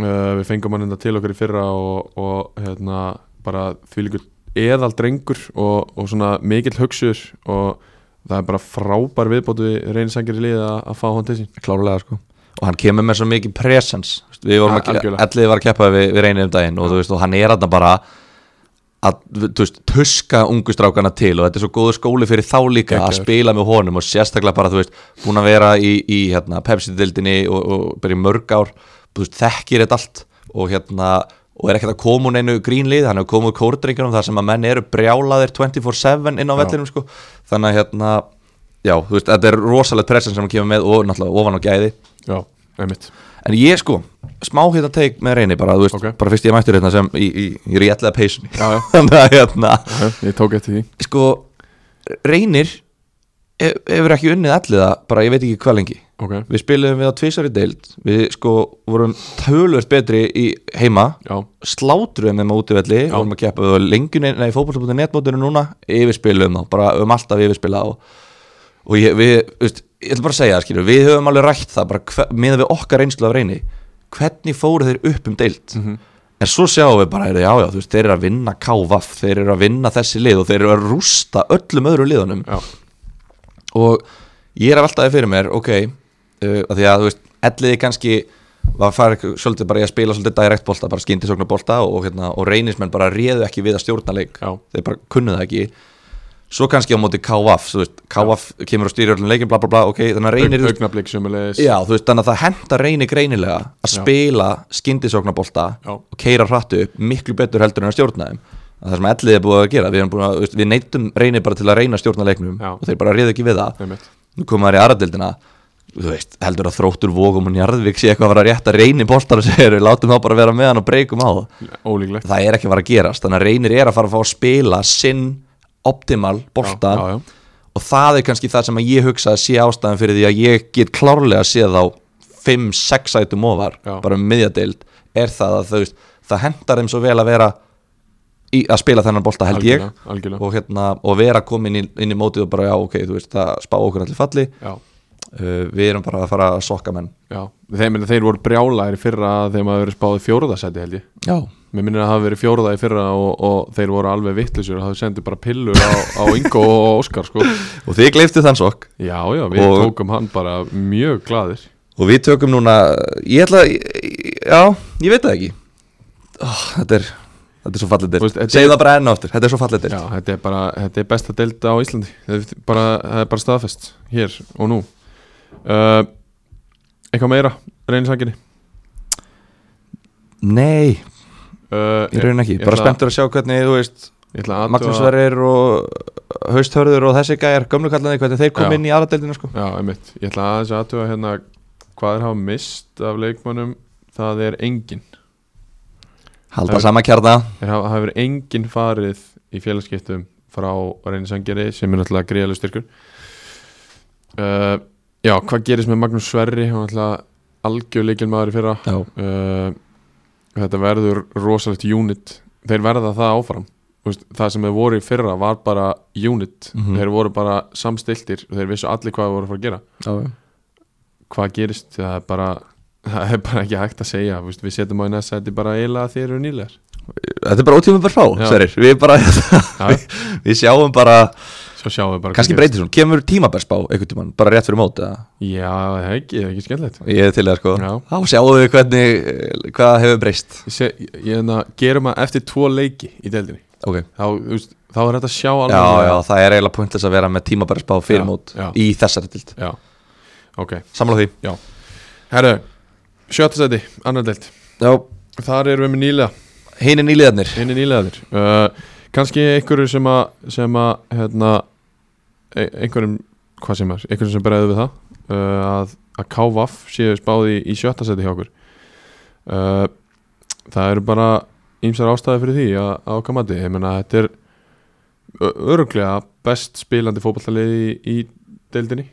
Speaker 1: uh, við fengum hann enda til okkur í fyrra og, og hérna bara því líkur eðal drengur og, og svona mikill hugsuður og það er bara frábær viðbót við reynisangir í liða að fá hann til sín
Speaker 2: klárlega sko. Og hann kemur með svo mikið presens Við vorum
Speaker 1: Ja,
Speaker 2: að,
Speaker 1: algjörlega.
Speaker 2: allir var að keppa við, við reynið um daginn og, þú veist, og hann er aðna bara að þú veist, tuska ungu strákana til og þetta er svo góður skóli fyrir þá líka að
Speaker 1: Geggjaður.
Speaker 2: spila með honum og sérstaklega bara, þú veist, búin að vera í, í hérna, Pepsi-dildinni og, og bara í mörg ár, þú veist, þekkir þetta allt og hérna, og er ekkert að koma úr neinu grínlið, hann er komið úr kórdringunum þar sem að menn eru brjálaðir 24-7 inn á
Speaker 1: Já.
Speaker 2: vellinum, sko, þannig að hérna, já, þú veist, þetta er rosalega pressan sem hann kemur með og náttúrulega ofan á gæði
Speaker 1: já, einmitt
Speaker 2: En ég sko, smá hérna teik með reyni bara, þú veist,
Speaker 1: Ok.
Speaker 2: bara fyrst ég mættur hérna sem í, í, í réttlega peysunni
Speaker 1: Já, já.
Speaker 2: Þannig að hérna,
Speaker 1: Já, ég tók eftir því
Speaker 2: sko, reynir hef- hefur ekki unnið alliða, bara ég veit ekki hvað lengi
Speaker 1: ok,
Speaker 2: Við spilum við á tvisar í deild, við sko vorum tölvöld betri í heima
Speaker 1: já,
Speaker 2: Slátruðum þeim á útivelli,
Speaker 1: Já.
Speaker 2: vorum að keppa við á lengjunni, nei, fótbolta.net netmótinu núna Yfirspilum þá, bara um alltaf yfirspila og og ég, við, veist, ég ætla bara að segja það skilur, við höfum alveg rætt það bara með við okkar reynslu af reyni hvernig fóru þeir upp um deilt en svo sjáum við bara, heyrðu, já já, þú veist, þeir eru að vinna KVF, þeir eru að vinna þessi lið og þeir eru að rústa öllum öðru liðunum
Speaker 1: já,
Speaker 2: og ég er að velta þið fyrir mér, ok uh, að því að, þú veist, elliði kannski var að fara ekki- svolítið bara í að spila svolítið direkt bolta, bara skyndisokna bolta og, hérna, og reynismenn bara réðu ekki við að stjórna leik
Speaker 1: já,
Speaker 2: þeir bara kunnu það ekki svo kannski á móti KVF þú veist, KVF kemur og stýrir öllum leikin bla bla bla ok, þannig að reynir
Speaker 1: Aug,
Speaker 2: þú veist-
Speaker 1: augnablík sömulegis
Speaker 2: já, þú veist, þannig að það henda reynir greinilega að
Speaker 1: Já.
Speaker 2: spila skyndisóknabolta
Speaker 1: Já.
Speaker 2: og keira hrattu upp miklu betur heldur en að stjórna þeim Að það sem ellið er búið að gera, við, erum búin að, þú veist, við neytum reynir bara til að reyna að stjórna leiknum
Speaker 1: Já.
Speaker 2: og þeir bara reyðu ekki við það
Speaker 1: einmitt,
Speaker 2: nú komum það í aðradildina þú veist, heldur að þróttur vókum og njarðvík sé eitthvað að vera að rétta reynir boltar og segir, látum þá bara vera með hann og breykum á það
Speaker 1: ólíklegt
Speaker 2: það er ekki að fara að gerast þannig að reynir er að fara að fá að spila sinn optimal bolta
Speaker 1: Já, já, já.
Speaker 2: og það er kannski það sem að ég hugsa að sé ástæðan fyrir því að ég get klárlega að sé þá 5-6 sætum ofar
Speaker 1: Já.
Speaker 2: bara um miðjadeild er það að það, veist, það hendar þeim svo vel að vera í, að spila þennan bolta held ég
Speaker 1: Algjörlega, algjörlega.
Speaker 2: og, hérna, og vera komin inn, inn í mótið og bara já ok, þú veist, það spá okkur allir falli
Speaker 1: já,
Speaker 2: uh, við erum bara að fara að sokka menn
Speaker 1: já þeir, meni, þeir voru brjálæðir í fyrra þegar maður verið spáði fjóruðasæti held ég
Speaker 2: já,
Speaker 1: Mér minnir að það hafi verið fjóruða í fyrra og, og þeir voru alveg vittlisur það sendi bara pillur á, á Ingo og Óskar sko.
Speaker 2: og þið gleiftu þann sokk
Speaker 1: Já, já, við
Speaker 2: Og-
Speaker 1: tókum hann bara mjög gladir
Speaker 2: Og við tökum núna, ég ætla, ég- já, ég veit það ekki oh, þetta, er, þetta er svo fallið
Speaker 1: Þú veist,
Speaker 2: dyrt
Speaker 1: þetta
Speaker 2: Segðu það bara enn áttur, þetta er svo fallið
Speaker 1: Já,
Speaker 2: dyrt
Speaker 1: þetta er bara, þetta er besta delta á Íslandi Þetta er bara, það er bara staðfest hér og nú uh, Eitthvað meira, reynisanginni
Speaker 2: Nei,
Speaker 1: uh,
Speaker 2: í raun ekki,
Speaker 1: ég
Speaker 2: bara
Speaker 1: ætla-
Speaker 2: spenntur að sjá hvernig, þú veist
Speaker 1: Ég ætla að
Speaker 2: Magnús
Speaker 1: athuga-
Speaker 2: Verðir og Hausthörður og þessi gæjar, gömlukallandi, hvernig þeir kom
Speaker 1: Já.
Speaker 2: inn í aðradeldina sko
Speaker 1: Já, einmitt, ég ætla aðeins að aðtöga hérna hvað er hafa mist af leikmönnum það er engin
Speaker 2: Halda
Speaker 1: Það-
Speaker 2: sama kjarna
Speaker 1: Það hafa, hafa verið engin farið í félagskiptum frá reynisangeri sem er náttúrulega gríðalegu styrkur uh, Já, hvað gerist með Magnús Sverri hann var náttúrulega algjörleikil maður í fyrra
Speaker 2: Já,
Speaker 1: uh, Þetta verður rosalegt unit Þeir verða það áfram Þú veist, Það sem þeir voru í fyrra var bara unit
Speaker 2: Mhm.
Speaker 1: Þeir voru bara samstiltir og þeir vissu allir hvað þeir voru að fara að gera
Speaker 2: já,
Speaker 1: Hvað gerist, það er bara það er bara ekki hægt að segja Þú veist, Við setjum á í næsta þetta bara eiginlega að þeir eru nýlegar
Speaker 2: þetta er bara ótíma bara fá,
Speaker 1: Já.
Speaker 2: Sverrir Við bara,
Speaker 1: Já,
Speaker 2: við sjáum bara,
Speaker 1: svo sjáum við bara hvað
Speaker 2: kannski
Speaker 1: gerist.
Speaker 2: breytir svona, kemur tímabærsbá einhvern tímann, bara rétt fyrir mót eða?
Speaker 1: Já, það er ekki, það er ekki skemmtilegt
Speaker 2: Ég er til það sko,
Speaker 1: Já.
Speaker 2: þá sjáum við hvernig, eh, hvað hefur breyst
Speaker 1: Ég, seg, ég, ég hérna, gerum að eftir tvo leiki í deildinni
Speaker 2: okay.
Speaker 1: þá, þú veist, þá er þetta að sjá alveg
Speaker 2: já, já, það er eiginlega pointless að vera með tímabæri spá fyrir
Speaker 1: Já,
Speaker 2: mót
Speaker 1: já.
Speaker 2: í þessari dild
Speaker 1: já. Ok,
Speaker 2: Samla því
Speaker 1: herru, sjötta seti, annar deild
Speaker 2: Já,
Speaker 1: Þar erum við með nýlega,
Speaker 2: hinn er nýliðarnir
Speaker 1: inni nýlegaðir uh, Kanski einhverju sem að, sem að hérna, e- einhverjum, hvað sem er, einhverjum sem bregðu við það uh, að, að KVAF séu spáði í sjötta seti hjá okkur uh, Það eru bara ýmsar ástæði fyrir því að að okkar mati, ég meina þetta er ö- örugglega best spilandi fótballtaliði í, í deildinni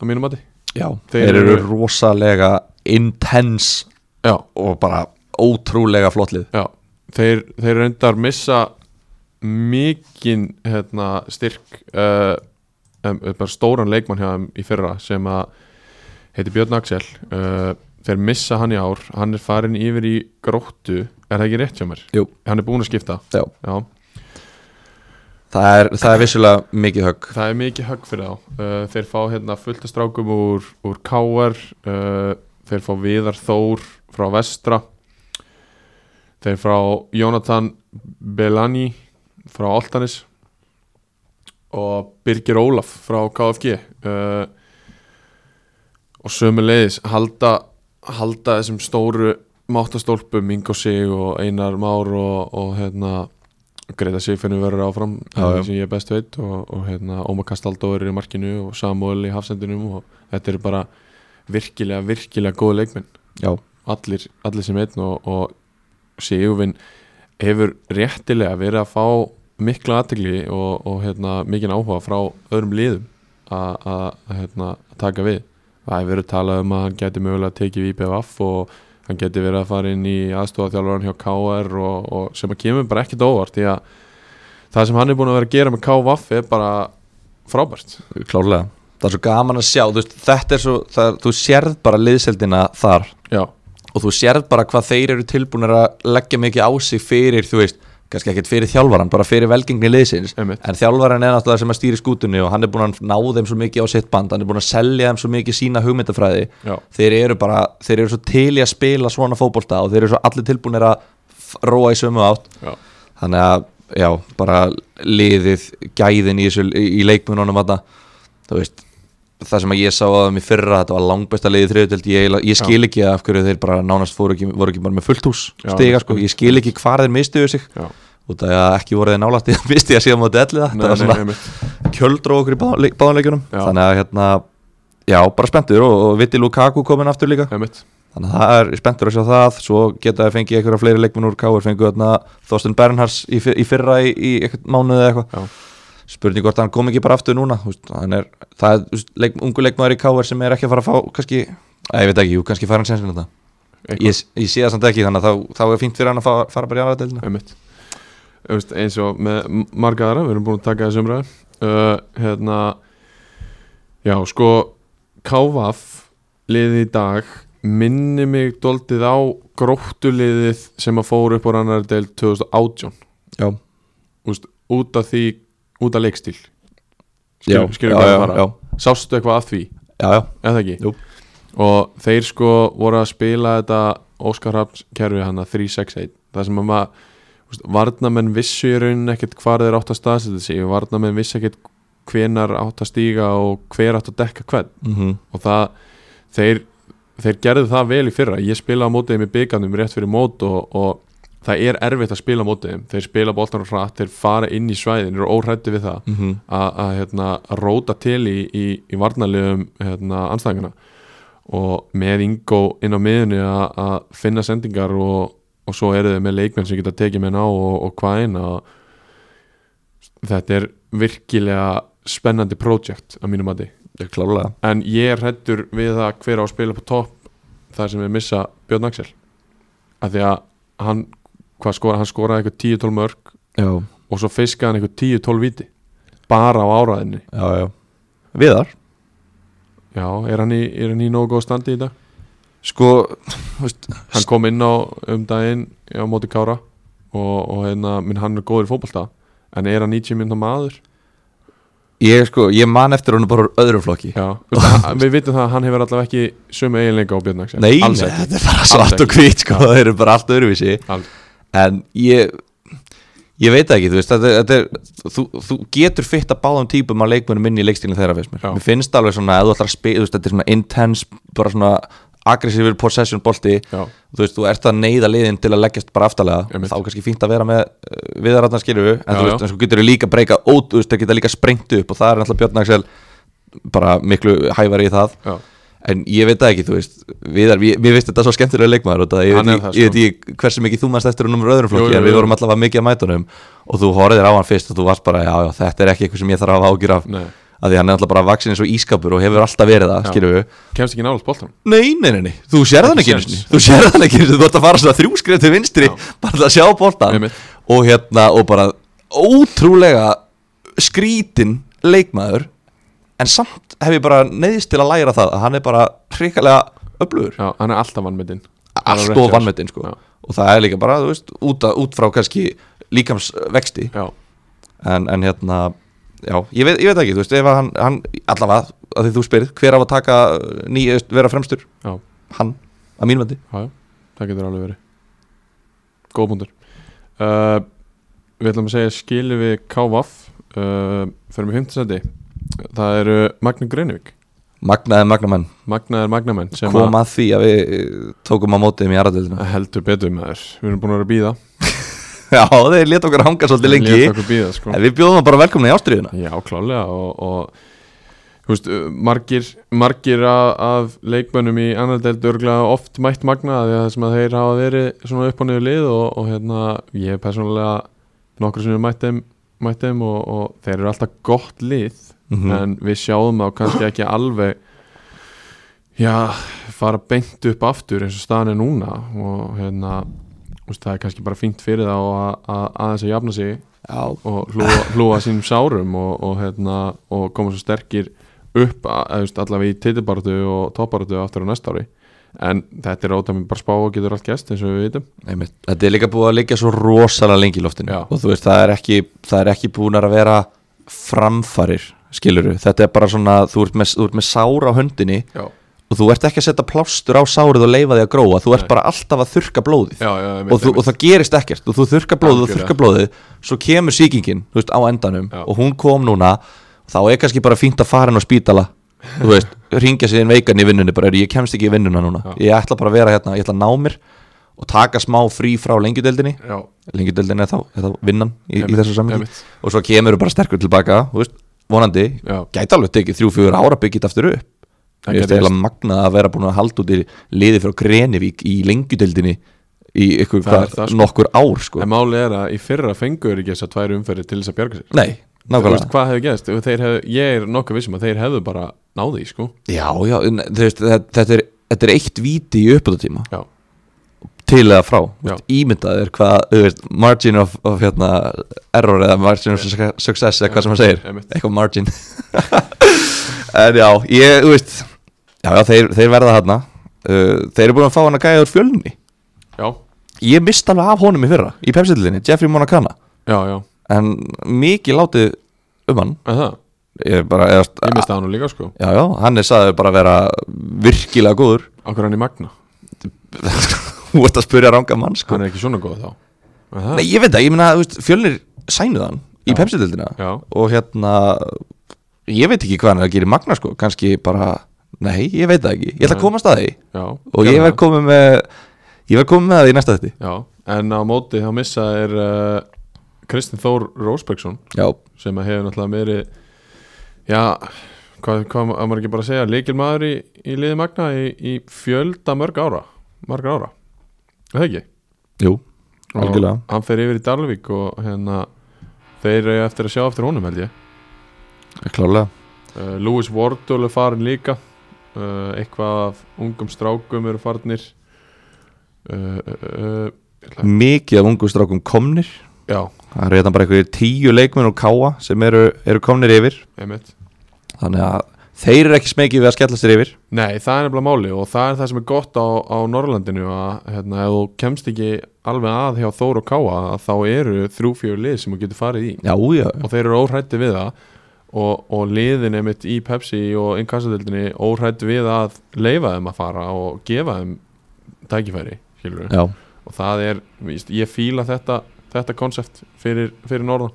Speaker 1: að mínu mati
Speaker 2: Já,
Speaker 1: Þeir
Speaker 2: þeir, eru
Speaker 1: eru-
Speaker 2: rosalega intense
Speaker 1: Já,
Speaker 2: og bara ótrúlega flottlið
Speaker 1: Já, þeir, þeir reyndar missa mikinn hérna, styrk uh, um, bara stóran leikmann hjá þeim í fyrra sem að heiti Björn Axel uh, þeir missa hann í ár hann er farin yfir í gróttu er það ekki rétt hjá mér?
Speaker 2: Jú.
Speaker 1: Hann er búin að skipta
Speaker 2: Já,
Speaker 1: Já,
Speaker 2: það er, það er vissulega mikið högg
Speaker 1: það er mikið högg fyrir þá uh, þeir fá hérna fullt af strákum úr, úr KR uh, þeir fá Viðar Þór frá Vestra þeir frá Jónatan Belani frá Altanis og Birgir Ólaf frá KFG uh, og sömulegis halda, halda þessum stóru máttastólpum Ingo Sig og Einar Már og, og hérna Greta Sifinu verður áfram
Speaker 2: Já, já.
Speaker 1: sem ég best veit og, og hérna Ómar Kastaldó er í markinu og Samuel í hafsendinum og þetta eru bara virkilega, virkilega góð leikmenn
Speaker 2: Já,
Speaker 1: allir, allir sem einn og, og Sigurvin hefur réttilega verið að fá mikla aðtegli og, og hérna, mikinn áhuga frá öðrum liðum að- að að, hérna, að taka við það hefur verið talað um að hann geti mögulega tekið í IPVF og hann geti verið að fara inn í aðstofaþjálfur hjá KR og, og sem að kemur bara ekkert á óvart því að það sem hann er búin að vera að gera með KVF er bara frábært
Speaker 2: klárlega Það er svo gaman að sjá, þú veist, þetta er svo það, þú sérð bara liðseldina þar
Speaker 1: Já,
Speaker 2: og þú sérð bara hvað þeir eru tilbúinir að leggja mikið á sig fyrir, þú veist, kannski ekkert fyrir þjálfaran, bara fyrir velgengni liðsins
Speaker 1: Einmitt.
Speaker 2: en þjálfaran er náttúrulega sem að stýri skútunni og hann er búin að ná þeim svo mikið á sitt band hann er búin að selja þeim svo mikið sína hugmyndafræði
Speaker 1: Já.
Speaker 2: þeir eru bara, þeir eru svo til í að spila svona fótbolta og þeir eru svo allir tilbúinir að f- róa í sömu átt
Speaker 1: já,
Speaker 2: þannig að, já, bara liðið, gæðin í, þessu, í í leikmununum þarna, þú veist það sem að ég sá að þeim í fyrra þetta var langbesta liðið þriðutöld, ég, eiginlega- ég skil ekki af hverju þeir bara nánast fóru ekki, voru ekki bara með fullt hús
Speaker 1: Já.
Speaker 2: stiga, sko, ég skil ekki hvar þeir mistuðu sig
Speaker 1: já
Speaker 2: og það að ekki voru þeir nálægt í að misti að síðan móti ellið það,
Speaker 1: Nei,
Speaker 2: var
Speaker 1: nei,
Speaker 2: svona
Speaker 1: einmitt.
Speaker 2: kjöldró okkur í báðanleikjunum
Speaker 1: Já.
Speaker 2: þannig að hérna, já, bara spenntur og, og Viti Lukaku komin aftur líka
Speaker 1: Einmitt.
Speaker 2: Þannig að það er ég er spenntur að sjá það Svo geta þeir fengið einhverja fleiri leikmenn úr Káur Fengið þarna Þorsten Bernhards í, fyr- í fyrra í, í eitthvað mánuð eða
Speaker 1: Já.
Speaker 2: eitthvað Spurning hvort hann kom ekki bara aftur núna þú veist, hann er, Það er þú veist, leik, ungu leikmaður í Káur sem er ekki að fara að fá kannski, að, Ég veit ekki, jú, kannski fær hann sensin þetta
Speaker 1: Eitthvað.
Speaker 2: ég, ég sé það samt ekki þannig að þá, þá er fínt fyrir hann að fara, fara bara í aðra deilina
Speaker 1: einmitt Þú veist, eins og með m- marga aðra við erum búin að taka þessu umræðu uh, hérna já sko KVF liðið í dag minni mig doldið á gróttuliðið sem að fór upp á annar deil 2018
Speaker 2: Já,
Speaker 1: úst, út af því út af leikstíl
Speaker 2: já,
Speaker 1: Skil- skilur
Speaker 2: já,
Speaker 1: hvað
Speaker 2: já,
Speaker 1: ég fara?
Speaker 2: já,
Speaker 1: sástu eitthvað að því
Speaker 2: já, já,
Speaker 1: eða ekki
Speaker 2: Jú.
Speaker 1: og þeir sko voru að spila þetta Óskar Hafns kerfi hana 3-6-1 það sem að maður veist, varnamenn vissu í raunin ekkert hvar þeir átt að staðsetja sig varnamenn vissu ekkert hvenar átt að stíga og hver átt að dekka hvern
Speaker 2: mm -hmm.
Speaker 1: og það, þeir, þeir gerðu það vel í fyrra ég spila á mótiðum í byggandum rétt fyrir mót og, og það er erfitt að spila á mótiðum þeir spila bóltan og hratt, þeir fara inn í svæðin eru óhrættu við það
Speaker 2: Mm -hmm.
Speaker 1: að, að hérna, að róta til í, í, í varnarlegum hérna, anstæðingana og með Ingo inn á miðunni að, að finna sendingar og, og svo eru þau með leikmenn sem geta tekið menn á og, og hvað eina þetta er virkilega spennandi projekt að mínum mati
Speaker 2: Klálega
Speaker 1: en ég er hrettur við það hver á að spila på topp þar sem við missa Björn Axel af því að hann, hvað skora, hann skoraði eitthvað 10-12 mörg
Speaker 2: Já,
Speaker 1: og svo fiskaði hann eitthvað 10-12 viti bara á áraðinni
Speaker 2: já, já Viðar
Speaker 1: Já, er hann í, er hann í nógu góð standi í dag?
Speaker 2: Sko,
Speaker 1: Hann kom inn á um daginn á móti Kára og, og hérna, minn hann er góður í fótbolta en er hann 90 minna maður?
Speaker 2: ég sko, ég man eftir honum bara úr öðrum flokki
Speaker 1: Já, Hann- við vitum það að hann hefur allavega ekki sömu eiginleika á Björn Axel
Speaker 2: Nei,
Speaker 1: Alls
Speaker 2: nei,
Speaker 1: ekki.
Speaker 2: þetta er bara
Speaker 1: Alls
Speaker 2: svart
Speaker 1: ekki.
Speaker 2: og hvít sko,
Speaker 1: Já.
Speaker 2: það eru bara allt öðruvísi
Speaker 1: Alls.
Speaker 2: En ég Ég veit það ekki, þú veist þetta, er- þetta er, þú, þú getur fyrt að báðum típum á leikmönum minni í leikstílinn þeirra fyrst mér
Speaker 1: Já.
Speaker 2: Mér finnst alveg svona, ef þú ætlar að spila, þú veist, þetta er svona intense, bara svona aggressífur possession bolti
Speaker 1: Já,
Speaker 2: Þú veist, þú ert að neyða liðin til að leggjast bara aftalega
Speaker 1: Einmitt.
Speaker 2: Þá er kannski fínt að vera með uh, viðaratna skilju En
Speaker 1: Já,
Speaker 2: þú
Speaker 1: já.
Speaker 2: veist, en svo getur þú líka breyka út, þú veist, þeir geta líka sprengt upp Og það er náttúrulega Björn Axel bara miklu hæfari í það
Speaker 1: já,
Speaker 2: En ég veit það ekki, þú veist Viðar, við, við veist þetta er svo skemmtilega leikmaður og það, ég,
Speaker 1: Hann er
Speaker 2: veit,
Speaker 1: það, sko.
Speaker 2: það, ég veit ekki hversu mikið þú mannst eftir húnum öðrum flokki,
Speaker 1: Jú, jú,
Speaker 2: en við
Speaker 1: jú.
Speaker 2: vorum allavega mikið að mæta húnum og þú horfðir á hann fyrst og þú varst bara, já, já, þetta er ekki eitthvað sem ég þarf að hafa ágjur af
Speaker 1: nei
Speaker 2: að því hann er alltaf bara vaksin eins og ískapur og hefur alltaf verið það,
Speaker 1: Já.
Speaker 2: skilum við
Speaker 1: Kemst ekki nálaðt boltan?
Speaker 2: Nei, nei, nei, nei, þú sérð hann
Speaker 1: Ekki
Speaker 2: ekki einu
Speaker 1: séns.
Speaker 2: sinni. þú sérð hann ekki, einu sinni, þú ert að fara svona þrjú skref til vinstri,
Speaker 1: Já.
Speaker 2: bara til að sjá boltan
Speaker 1: Einmitt.
Speaker 2: og hérna, og bara ótrúlega skrítin leikmaður en samt hef ég bara neyðist til að læra það að hann er bara hrikalega öflugur,
Speaker 1: Já, hann er alltaf vannmyndin
Speaker 2: allt og vannmetinn sko,
Speaker 1: Já.
Speaker 2: og það er líka bara, þú veist út, að, út frá kannski líkamsvexti
Speaker 1: Já,
Speaker 2: en, en hérna já, ég veit, ég veit ekki, þú veist, ef að hann, hann allavega, að því þú spyrir, hver á að taka eh, nýja, vera fremstur,
Speaker 1: Já.
Speaker 2: hann að mínum vendi
Speaker 1: já, já, það getur alveg verið Góð punktur uh, við ætlum að segja skilu við Kávaf uh, fyrir með 5. seti það eru Magni Greinivík
Speaker 2: Magnaði magnamenn
Speaker 1: Magnaðar Magnamenn sem
Speaker 2: kom að því að við eh, tókum á mótið þeim í aðradöldinu
Speaker 1: að heldur betur maður við erum búin að vera að býða
Speaker 2: Já, þeir leta okkur hanga svolítið lengi
Speaker 1: Lét okkur býða, sko.
Speaker 2: En við bjóðum þá bara velkomna í ástriðuna
Speaker 1: Já, klálega og, og þú veist, uh, margir, margir af, af leikmönnum í annar delt örgulega oft mætt magna því að það sem að þeir hafa verið svona upp og niður lið og, og hérna, ég er persónulega nokkur sem er mætt þeim, mætt þeim og, og þeir eru alltaf gott lið
Speaker 2: Mhm.
Speaker 1: en við sjáum þá kannski ekki alveg já, fara beint upp aftur eins og staðan er núna og hérna, þú veist, það er kannski bara fínt fyrir þá að að- aðeins að jafna sig
Speaker 2: Já,
Speaker 1: og hlúa, hlúa sínum sárum og, og, hérna, og koma svo sterkir upp að- eða, þú veist, allavega í titibartu og toppartu aftur á næsta ári en þetta er ótaf mér bara spá og getur allt gæst eins og við vitum
Speaker 2: Einmitt. Þetta er líka búið að liggja svo rosalega lengi í loftinu
Speaker 1: Já.
Speaker 2: og þú veist, það er ekki, það er ekki búinar að vera framfarir, skiluru þetta er bara svona, þú ert með, þú ert með sár á höndinni
Speaker 1: Já,
Speaker 2: og þú ert ekki að setja plástur á sárið og leifa því að gróa, þú ert
Speaker 1: Nei.
Speaker 2: bara alltaf að þurka blóðið
Speaker 1: já, já einmitt,
Speaker 2: og, þú, og það gerist ekkert og þú þurka blóðið og
Speaker 1: Algjörlega.
Speaker 2: þurka blóðið svo kemur sýkingin, þú veist, á endanum
Speaker 1: Já.
Speaker 2: og hún kom núna, þá er kannski bara fínt að fara henn á spítala þú veist, ringja sér inn veikan í vinnunni bara, "Heyrðu, ég kemst ekki í vinnuna núna
Speaker 1: Já.
Speaker 2: ég ætla bara að vera hérna, ég ætla að ná mér og taka smá frí frá lengjudeldinni
Speaker 1: einmitt. já,
Speaker 2: lengjudeldin er þá, er þá vinnan í, í
Speaker 1: Einmitt,
Speaker 2: þessu samhengi
Speaker 1: einmitt.
Speaker 2: og svo kemur þú bara sterkur tilbaka þú veist, vonandi,
Speaker 1: Já.
Speaker 2: gæti alveg tekið þrjú, fjögur ára byggit aftur upp
Speaker 1: Það
Speaker 2: ég veist
Speaker 1: gæti
Speaker 2: eiginlega magnað að vera búin að halda út í liði frá Grenivík í lengjudeldinni í ykkur
Speaker 1: Það
Speaker 2: hvað,
Speaker 1: er það, sko.
Speaker 2: nokkur ár sko.
Speaker 1: en máli er að í fyrra fengur ekki þess að tvær umferði til þess að bjarga sér
Speaker 2: nei,
Speaker 1: Þú veist,
Speaker 2: nákvæmlega
Speaker 1: hvað hefur gerst, Ef þeir hef, ég er nokkuð vissum að þeir hefðu bara náði í sko
Speaker 2: já, já, en þú veist, þetta, þetta, er, þetta er eitt víti í uppbúttatíma
Speaker 1: já,
Speaker 2: til eða frá, Þú
Speaker 1: Já.
Speaker 2: veist, ímyndaður hvað, þú veist, margin of, of hérna, error eða margin of success- success eða hvað sem maður segir,
Speaker 1: Einmitt.
Speaker 2: eitthvað margin en já, ég, þú veist já, já þeir, þeir verða þarna uh, þeir eru búin að fá hann að gæja úr fjölni
Speaker 1: já,
Speaker 2: ég mist alveg af honum í fyrra, í pepsillinni Jeffrey Monacana,
Speaker 1: já, já,
Speaker 2: en mikið látið um hann
Speaker 1: en það
Speaker 2: ég er bara, eða,
Speaker 1: ég misti hann nú líka sko,
Speaker 2: já, já, hann er sagður bara að vera virkilega góður
Speaker 1: okkur hann í magna
Speaker 2: þú ert að spyrja ranga mann, sko
Speaker 1: hann er ekki svona góð þá en það,
Speaker 2: Nei, ég veit það, ég meina, þú veist, fjölnir sænuð hann í
Speaker 1: Já.
Speaker 2: pepsildildina
Speaker 1: Já.
Speaker 2: og hérna, ég veit ekki hvað hann er að gera í Magna, sko, kannski bara nei, ég veit það ekki, ég ætla
Speaker 1: Nei.
Speaker 2: að komast að því
Speaker 1: já,
Speaker 2: og ég
Speaker 1: gerðu
Speaker 2: verð
Speaker 1: það.
Speaker 2: komið með ég verð komið með það í næsta þetta
Speaker 1: Já, en á móti þá missa er uh, Kristinn Þór Rósbergsson
Speaker 2: Já,
Speaker 1: sem að hefur náttúrulega meiri já, hvað, hvað á maður ekki bara að segja leikilmaður í, í liði Magna í, í fjölda mörg ára mörg ára, Er það ekki
Speaker 2: jú,
Speaker 1: Og
Speaker 2: algjörlega
Speaker 1: hann fer yfir í Dalvík og hérna þeir eru eftir að sjá eftir honum held ég
Speaker 2: klálega
Speaker 1: uh, Lewis Wardle er farin líka uh, eitthvað af ungum strákum eru farnir uh, uh, uh, ég ætla-
Speaker 2: Mikið af ungu strákum komnir
Speaker 1: já,
Speaker 2: það er hérna bara einhverjir tíu leikmenn og káa sem eru, eru komnir yfir
Speaker 1: einmitt
Speaker 2: þannig að þeir eru ekki smekið við að skella sér yfir
Speaker 1: Nei, það er nefnilega máli og það er það sem er gott á, á Norrlandinu að hérna, ef þú kemst ekki alveg að hjá Þór og Káa að þá eru þrjú-fjögur lið sem þú getur farið í
Speaker 2: Já, já,
Speaker 1: og þeir eru óhrætti við það og, og liðin einmitt í Pepsi og innkassadildinni óhrætti við að leifa þeim að fara og gefa þeim tækifæri, skilur
Speaker 2: já
Speaker 1: og það er, víst, ég fíla þetta þetta konsept fyrir, fyrir Norðan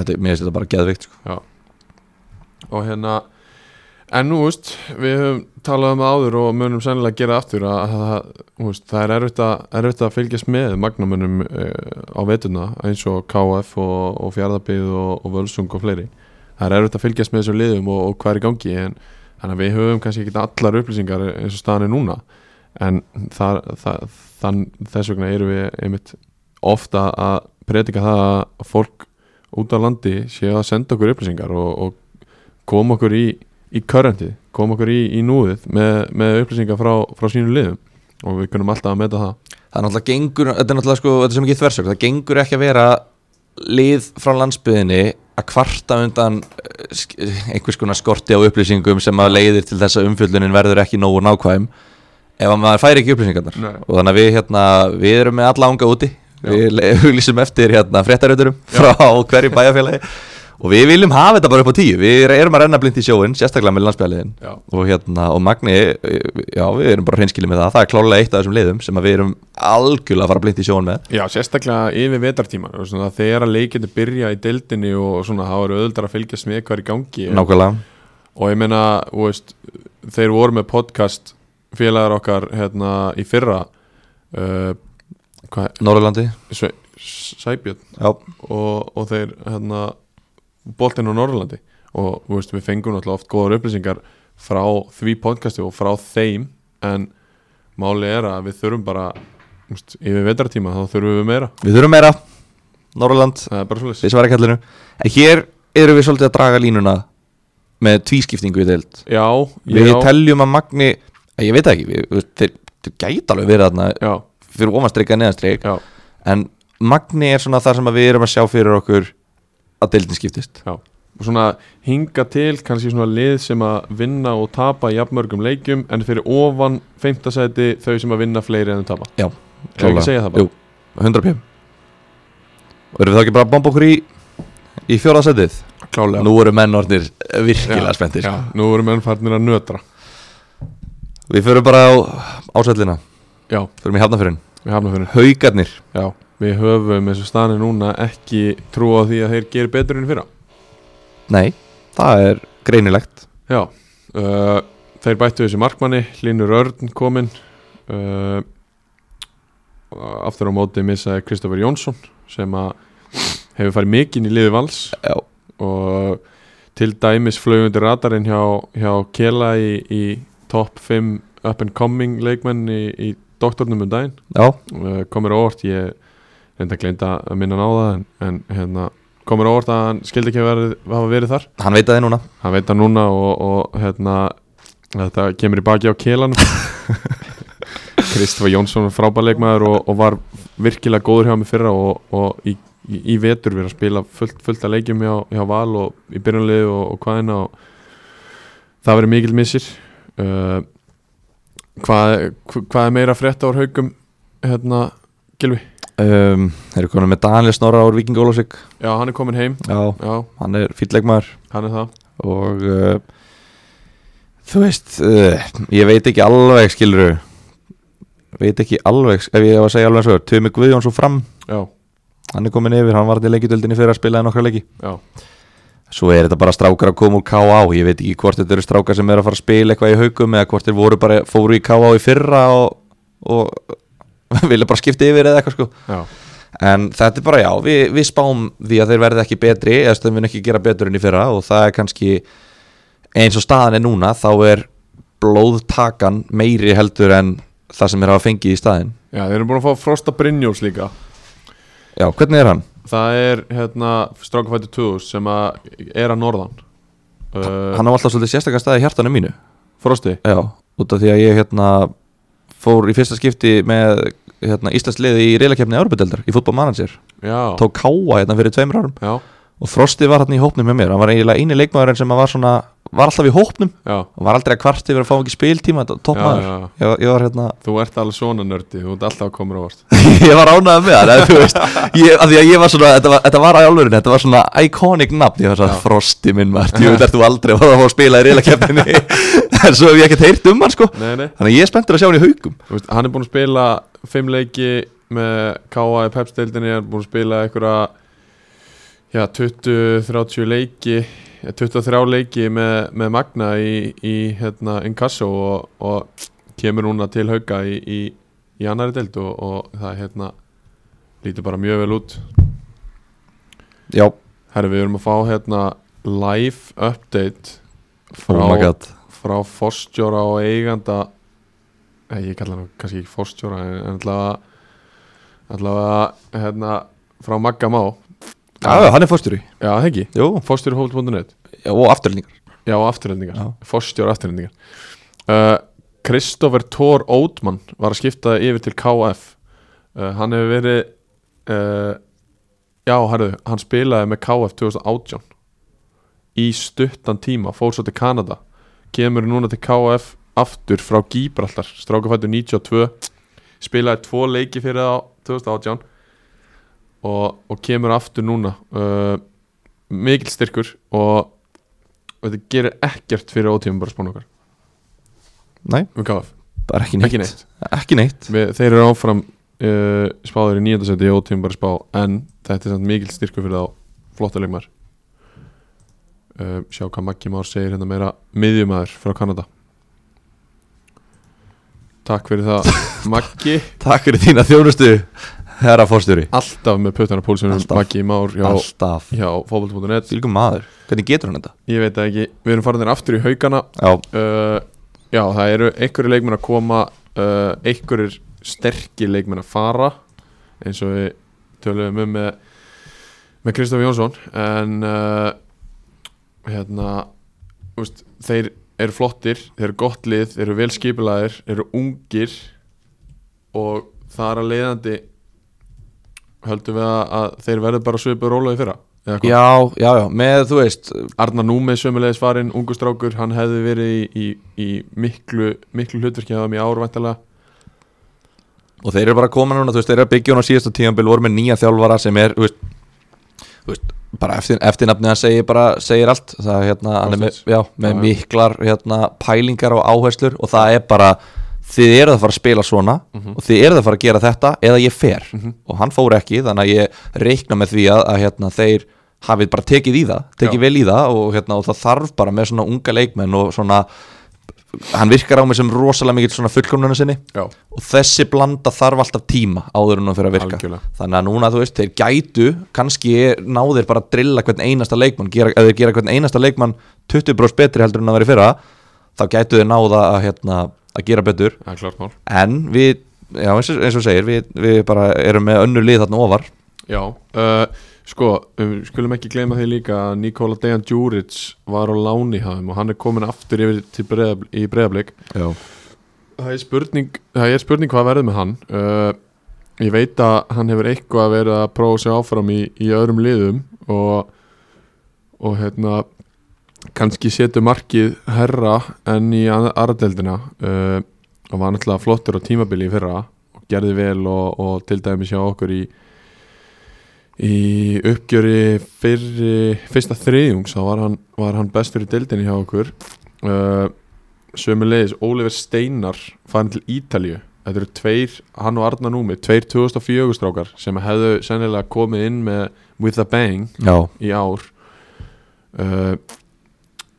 Speaker 2: þetta, mér finnst þetta bara geðvikt sko.
Speaker 1: og hérna en nú veist, við höfum talað um það áður og munum sennilega gera aftur að að það, þú veist, það er erfitt að, erfitt að fylgjast með magnamönnum uh, á vetuna eins og KF og, og Fjarðabíð og, og Völsung og fleiri það er erfitt að fylgjast með þessum liðum og, og hvað er í gangi en þannig að við höfum kannski ekki allar upplýsingar eins og staðan er núna en það, það, þann, þess vegna erum við einmitt ofta að predika það að fólk út á landi séu að senda okkur upplýsingar og, og koma okkur í, í körrendi, koma okkur í, í núðið með, með upplýsingar frá, frá sínu liðum og við kunum alltaf að meta það
Speaker 2: það er náttúrulega gengur, þetta er náttúrulega sko þetta er sem ekki þversök, það gengur ekki að vera lið frá landsbyðinni að kvarta undan eh, sk- einhvers konar skorti á upplýsingum sem að leiðir til þess að umfjöldunin verður ekki nógu nákvæm ef að maður færi ekki upplýsingarnar
Speaker 1: Nei.
Speaker 2: og þannig að við hérna, við erum með alla ánga úti
Speaker 1: Já.
Speaker 2: við le- auglýsum eftir hérna fréttarauturum frá hverju bæjarfélagi og við viljum hafa þetta bara upp á tíu við erum að renna blind í sjóin, sérstaklega með landsbæliðin
Speaker 1: Já.
Speaker 2: og hérna, og Magni já, við erum bara hreinskilið með það, það er klálega eitt af þessum liðum sem að við erum algjörlega að fara blind í sjóin með
Speaker 1: Já, sérstaklega yfir vetartíma svona, þegar að leikinu byrja í deildinni og svona, þá eru auðvitað að fylgjast með hvað er í gangi
Speaker 2: nákvæmlega,
Speaker 1: og ég meina, þú veist, þeir voru með podcast félagar okkar hérna í fyrra uh, hvað,
Speaker 2: Norrlandi
Speaker 1: Sve- Sæbjörn
Speaker 2: já,
Speaker 1: og, og þeir hérna boltinn á Norrlandi og þú veist, við fengum náttúrulega oft góðar upplýsingar frá því podcasti og frá þeim en máli er að við þurfum bara þú veist, yfir vetartíma þá þurfum við meira
Speaker 2: við þurfum meira Norrland,
Speaker 1: það er bara svolítið
Speaker 2: við sem var í kallinu en hér eru við svolítið að draga línuna með tvískiptingu í deild
Speaker 1: já,
Speaker 2: við
Speaker 1: já,
Speaker 2: teljum að Magni, ég veit það ekki við, við, þeir, þeir gæti alveg verið þarna
Speaker 1: já,
Speaker 2: fyrir ofanstreik að neðanstreik
Speaker 1: já,
Speaker 2: en Magni er svona þar sem að við erum að sjá fyrir okkur að deildin skiptist
Speaker 1: já og svona hinga til kannski svona lið sem að vinna og tapa jafnmörgum leikjum en fyrir ofan feimtasæti þau sem að vinna fleiri en þau tapa
Speaker 2: Já,
Speaker 1: Ef ekki segja það bara
Speaker 2: Jú, 100 pjum og erum við þá ekki bara að bomba okkur í í fjóraðsætið
Speaker 1: klálega
Speaker 2: nú eru menn orðnir virkilega
Speaker 1: Já,
Speaker 2: spenntir
Speaker 1: já, nú erum enn farnir að nötra
Speaker 2: við förum bara á ásætlina
Speaker 1: já,
Speaker 2: förum í hafnafyrin
Speaker 1: við hafna fyrir
Speaker 2: haugarnir
Speaker 1: Já, við höfum eins og staðin er núna ekki trú á því að þeir gerir betur enn fyrra
Speaker 2: nei það er greinilegt
Speaker 1: Já, uh, þeir bættu þessi markmanni, Linur Örn kominn uh, Aftur á móti missaði Kristoffer Jónsson sem að hefur farið mikinn í liði vals
Speaker 2: já
Speaker 1: og til dæmis flögundir radarinn hjá, hjá Kela í, í top 5 up and coming leikmenn í, í doktornum um daginn
Speaker 2: já
Speaker 1: uh, komur á óvart ég reynda að gleynda að minna hann á það en, en hérna, komur á óvart að hann skildi ekki að verið, hafa verið þar
Speaker 2: hann veit að þið núna
Speaker 1: hann veit það núna og, og hérna, þetta kemur í baki á kélanum Kristofa Jónsson er frábæleikmaður og, og var virkilega góður hjá mig fyrra og, og í, í, í vetur við erum að spila fullt, fullt að leikjum hjá, hjá Val og í byrjanlegu og, og hvaðina og það verið mikil missir uh, hvað, hvað er meira frétt á haugum hérna, Gilvi?
Speaker 2: um, erum komin með Daniel Snorra úr Viking Ólásvík
Speaker 1: Já, hann er komin heim
Speaker 2: já
Speaker 1: Já,
Speaker 2: hann er fýllegmaður
Speaker 1: hann er það
Speaker 2: og uh, þú veist uh, ég veit ekki alveg skiluru veit ekki alveg ef ég hef að segja alveg svo Tumi Guðjóns og fram
Speaker 1: Já,
Speaker 2: hann er komin yfir, hann var til leikjudöldinni fyrir að spilaði nokkra leiki
Speaker 1: já,
Speaker 2: svo er þetta bara strákar að koma úr K.A. ég veit ekki hvort þetta eru strákar sem eru að fara að spila eitthvað í haugum eða hvort þeir voru bara fóru í K.A. í fyrra og, og vilja bara skipta yfir eða eitthvað sko
Speaker 1: já,
Speaker 2: En þetta er bara já, við, við spám því að þeir verði ekki betri eða stöðum við ekki gera betur enn í fyrra og það er kannski eins og staðan er núna þá er blóðtakan meiri heldur en það sem er að hafa fengið í staðin.
Speaker 1: já Þeir eru búin að fá Frosta Brynjóls líka
Speaker 2: Já, hvernig er hann?
Speaker 1: Það er hérna Strákafættu 2000 sem að er að norðan uh,
Speaker 2: Hann á alltaf svolítið sérstakar staði í hjartanum mínu.
Speaker 1: Frosti
Speaker 2: Já, út af því að ég hérna fór í fyrsta skipti með hérna, Íslands liði í reylakefni Árbedeldar í fútbolmanager.
Speaker 1: Já,
Speaker 2: Tók káa hérna fyrir tveimur árum
Speaker 1: já,
Speaker 2: og Frosti var hérna í hópnum með mér. Hann var eiginlega eini leikmaðurinn sem var svona, var alltaf í hópnum
Speaker 1: já
Speaker 2: og var aldrei að kvart yfir að fá ekki spiltíma þetta var
Speaker 1: Já,
Speaker 2: toppmaður
Speaker 1: já, já.
Speaker 2: ég, var- ég var hérna
Speaker 1: Þú ert alveg svona nördi, þú ert alltaf að koma á vart
Speaker 2: ég var ánægð með það, þú veist ég, af því að ég var svona, þetta var, þetta var í alvörinni þetta var svona iconic nafn, ég var svona
Speaker 1: Já.
Speaker 2: frosti minn maður, þú veist, þú aldrei að fara að fá að spila í reylakefninni, en svo hef ég ekkert heyrt um hann sko,
Speaker 1: Nei, nei,
Speaker 2: þannig að ég er spenntur að sjá hann í haugum
Speaker 1: þú veist, hann er búin að spila fimm leiki með K.A. í Pepsdeildinni hann er búin að spila einhverja já, 20-30 leiki eh, ja, 23 leiki með, með Magna í, í hérna, Inkasso og, og kemur núna til hauka í, í, í annari deild og, og það hérna lítur bara mjög vel út
Speaker 2: já, oh
Speaker 1: Herri, við erum að fá hérna live update
Speaker 2: oh my
Speaker 1: frá,
Speaker 2: god
Speaker 1: frá forstjóra og eiganda Nei, ég kalla hann nú kannski ekki forstjóra en en allavega allavega hérna frá Magga Má
Speaker 2: já, já, hann er fórstjóri,
Speaker 1: Já, það ekki,
Speaker 2: jú,
Speaker 1: forstjórahóld.net
Speaker 2: já, og afturlningar
Speaker 1: Já, og afturhendingar,
Speaker 2: Já.
Speaker 1: forstjóra afturhendingar uh, Kristoffer Thor Oatman var að skipta yfir til KF uh, Hann hefur verið uh, Já, herru, hann spilaði með KF 2018 í stuttan tíma, fór svo til Kanada kemur núna til KF aftur frá Gíbraltar, strákafættu 92 spilaði tvo leiki fyrir það á 2018 og, og kemur aftur núna uh, mikil styrkur og, og þetta gerir ekkert fyrir ótífum bara spánu okkar
Speaker 2: Nei,
Speaker 1: við KF,
Speaker 2: bara ekki neitt
Speaker 1: ekki neitt
Speaker 2: Ekki neitt.
Speaker 1: við, þeir eru áfram uh, spáður í nýjöndasæti í ótífum bara spá en þetta er samt mikil styrkur fyrir þá flotta leikmar uh, sjá hvað Maggi Már segir hérna meira miðjumæður frá Kanada takk fyrir það Maggi
Speaker 2: Takk fyrir þína þjónustu Herra fórstjóri
Speaker 1: alltaf með pötana pólsunum
Speaker 2: Alltaf.
Speaker 1: Maggi Már hjá,
Speaker 2: Alltaf
Speaker 1: hjá fótbolt.net
Speaker 2: Fylgum maður Hvernig getur hann þetta?
Speaker 1: ég veit það ekki, við erum farinir aftur í haugana
Speaker 2: Já,
Speaker 1: uh, já, það eru einhverju leikmenn að koma uh, einhverjir sterkir leikmenn að fara eins og við töluðum um með, með Kristof Jónsson en uh, hérna úst, þeir eru flottir, þeir eru gott lið þeir eru vel skipilæðir, eru ungir og það er að leiðandi höldum við að, að þeir verður bara svipur rólaði fyrra eða hvað?
Speaker 2: já, já, já Með, þú veist
Speaker 1: Arnar Númið sömulegis farinn, ungu strákur hann hefði verið í, í, í miklu, miklu hlutverki af þeim í ár væntalega
Speaker 2: Og þeir eru bara komin núna Þú veist, þeir eru að byggja hún á síðasta tíðanbíl voru með nýja þjálfara sem er Þú veist, þú veist bara eftir, eftirnafnið hann segir bara segir allt það er hérna hann er með,
Speaker 1: Kostits.
Speaker 2: já, með
Speaker 1: Já, já.
Speaker 2: miklar hérna, pælingar og áherslur og það er bara þið eruð að fara að spila svona
Speaker 1: Mhm.
Speaker 2: og þið eruð að fara að gera þetta eða ég fer og hann fór ekki þannig að ég reikna með því að, að hérna, þeir hafið bara tekið í það tekið
Speaker 1: Já.
Speaker 2: vel í það og, hérna, og það þarf bara með svona unga leikmenn og svona hann virkar á mig sem rosalega mikill svona fullkomnuna sinni
Speaker 1: Já.
Speaker 2: og þessi blanda þarf alltaf tíma áður en hún fyrir að virka
Speaker 1: Algjörlega.
Speaker 2: þannig að núna þú veist, þeir gætu kannski náðir bara að drilla hvern einasta leikmann gera, ef þeir gera hvern einasta leikmann 20 brós betri heldur en að vera í fyrra þá gætu þeir náða að, hérna, að gera betur
Speaker 1: Það er klart mál
Speaker 2: en við, já, eins, og, eins og þú segir við, við bara erum með önnur lið þarna ofar
Speaker 1: Já, uh, sko, um, skulum ekki gleyma því líka að Nikola Dejan Djuric var á láni hafum og hann er komin aftur yfir til breyðabl í breyðablik
Speaker 2: já,
Speaker 1: það er spurning, það er spurning hvað verður með hann uh, ég veit að hann hefur eitthvað verið að prófa sig áfram í, í öðrum liðum og, og hérna kannski setur markið herra enn í aðradeldina uh, og var náttúrulega flottur á tímabili í fyrra og gerði vel og, og til dæmis hjá okkur í í uppgjöri fyrri, fyrsta þriðjungs þá var hann, var hann bestur í deildinni hjá okkur uh, sömulegis Oliver Steinar farin til Ítalju þetta eru tveir, hann og Arna Númi tveir 2004 strákar sem hefðu sennilega komið inn með With a Bang
Speaker 2: já,
Speaker 1: í ár uh,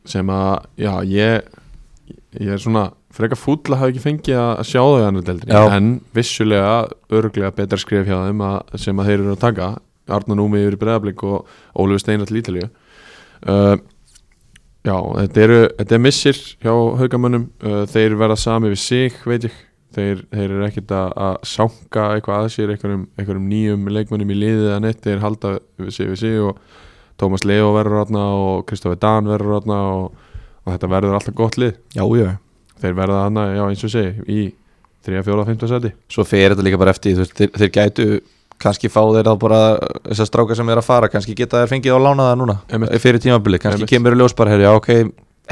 Speaker 1: sem að já, ég ég er svona frekar fúll að hafa ekki fengið að að sjá þau í annar deildri
Speaker 2: Já.
Speaker 1: en vissulega örglega betra skrif hjá þeim að, sem að þeir eru að taka Arna Númi yfir Breðablík og Ólfi Steinar til Ítalíu uh, Já, þetta, eru, þetta er missir hjá haugamönnum uh, þeir verða sami við sig, veit ég þeir, þeir eru ekkert að, að sánka eitthvað að sér, einhverjum, einhverjum nýjum leikmönnum í liðið eða neitt, þeir halda við sig við sig og Tómas Leo verður rátna og Kristofi Dan verður rátna og, og þetta verður alltaf gott lið
Speaker 2: já, já
Speaker 1: þeir verða þarna, já eins og segi, í 3, 4, 5 seti
Speaker 2: svo fer þetta líka bara eftir þú veist, þeir, þeir gætu kannski fá þeir þá bara þessar strákar sem er að fara, kannski geta þeir fengið á lána það núna eh,
Speaker 1: Einmitt.
Speaker 2: fyrir tímabili, kannski
Speaker 1: Einmitt.
Speaker 2: kemur í ljós bara herri, já, ok,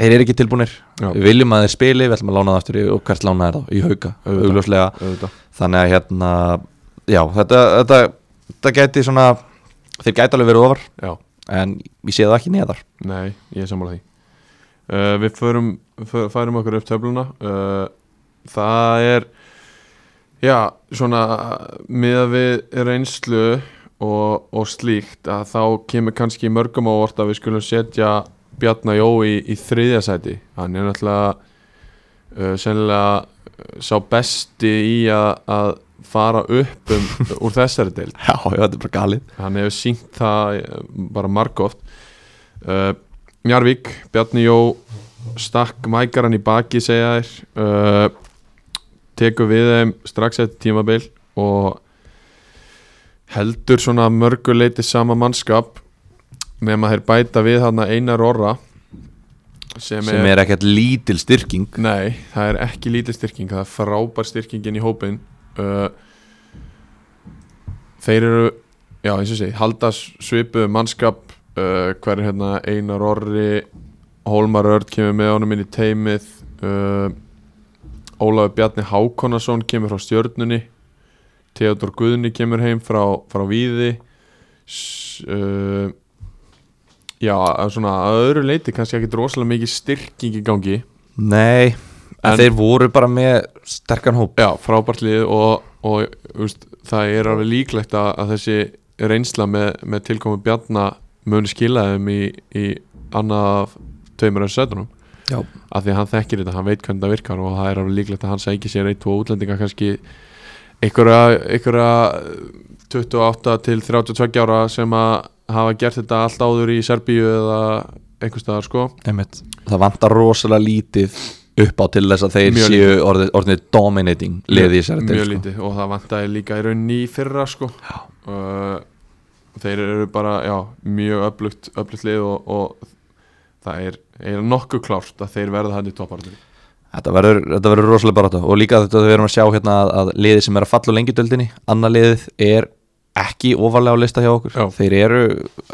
Speaker 2: þeir eru ekki tilbúnir
Speaker 1: Já.
Speaker 2: við viljum að þeir spili, við ætlum að lána það aftur í, og hvert lána er þá, í hauka,
Speaker 1: Auðvitað.
Speaker 2: augljóslega
Speaker 1: auðvitað,
Speaker 2: þannig að hérna, já, þetta þetta, þetta gæti svona þeir gæti alveg verið ofar,
Speaker 1: já
Speaker 2: en ég sé það ekki neðar
Speaker 1: Nei, ég er sammála því uh, Við förum, för- færum okkur upp töfluna uh, Það er Já, svona miða við reynslu og, og slíkt að þá kemur kannski mörgum ávort að við skulum setja Bjarnar Jó í, í þriðja sæti Hann er náttúrulega uh, sennilega uh, sá besti í að, að fara upp um, úr þessari deil
Speaker 2: já, já, þetta er bara galið
Speaker 1: hann hefur syngt það eh, bara margótt uh, Njarvík, Bjarni Jó stakk mækaran í baki segja þér uh, tekur við þeim strax eftir tímabil og heldur svona mörguleiti sama mannskap nema þeir bæta við hann einar orra sem,
Speaker 2: sem er ekkert lítil styrking
Speaker 1: Nei, það er ekki lítið styrking það er frábær styrkingin í hópin uh, Þeir eru já, eins og segi, halda svipu mannskap, uh, hver er hérna Einar Orri, Hólmar Örd kemur með honum inn í teimið uh, Ólafur Bjarni Hákonason kemur frá stjörnunni Theodor Guðni kemur heim frá, frá Víði S- uh, Já, að svona að öðru leiti kannski ekki rosalega mikið styrking í gangi
Speaker 2: Nei, en,
Speaker 1: En-
Speaker 2: þeir voru bara með sterkan hóp
Speaker 1: Já, frábært lið og, og úst, það er alveg líklegt að, að þessi reynsla með, með tilkomi Bjarna mun skila þeim í, í annað tveimur en sötunum
Speaker 2: Já.
Speaker 1: af því að hann þekkir þetta, hann veit hvernig það virkar og það er alveg líklegt að hann sæki sér ein, tvo útlendinga kannski einhverja, einhverja 28 til 32 ára sem að hafa gert þetta allt áður í Serbíu eða einhvers staðar sko
Speaker 2: Einmitt. Það vantar rosalega lítið upp á til þess að þeir
Speaker 1: Mjög
Speaker 2: séu orðið, orðið dominating liðið í sko. sér
Speaker 1: mjög lítið og það vantaði líka í rauninni í fyrra sko uh, þeir eru bara já, mjög öflugt, öflugt lið og, og það er, er nokkuð klárt að þeir verða hann í topparður
Speaker 2: Þetta verður, þetta verður rosalega barátta og líka þetta við erum að sjá hérna að, að liðið sem er að falla á lengjudöldinni, annað liðið er ekki ofarlega á lista hjá okkur
Speaker 1: Já.
Speaker 2: þeir eru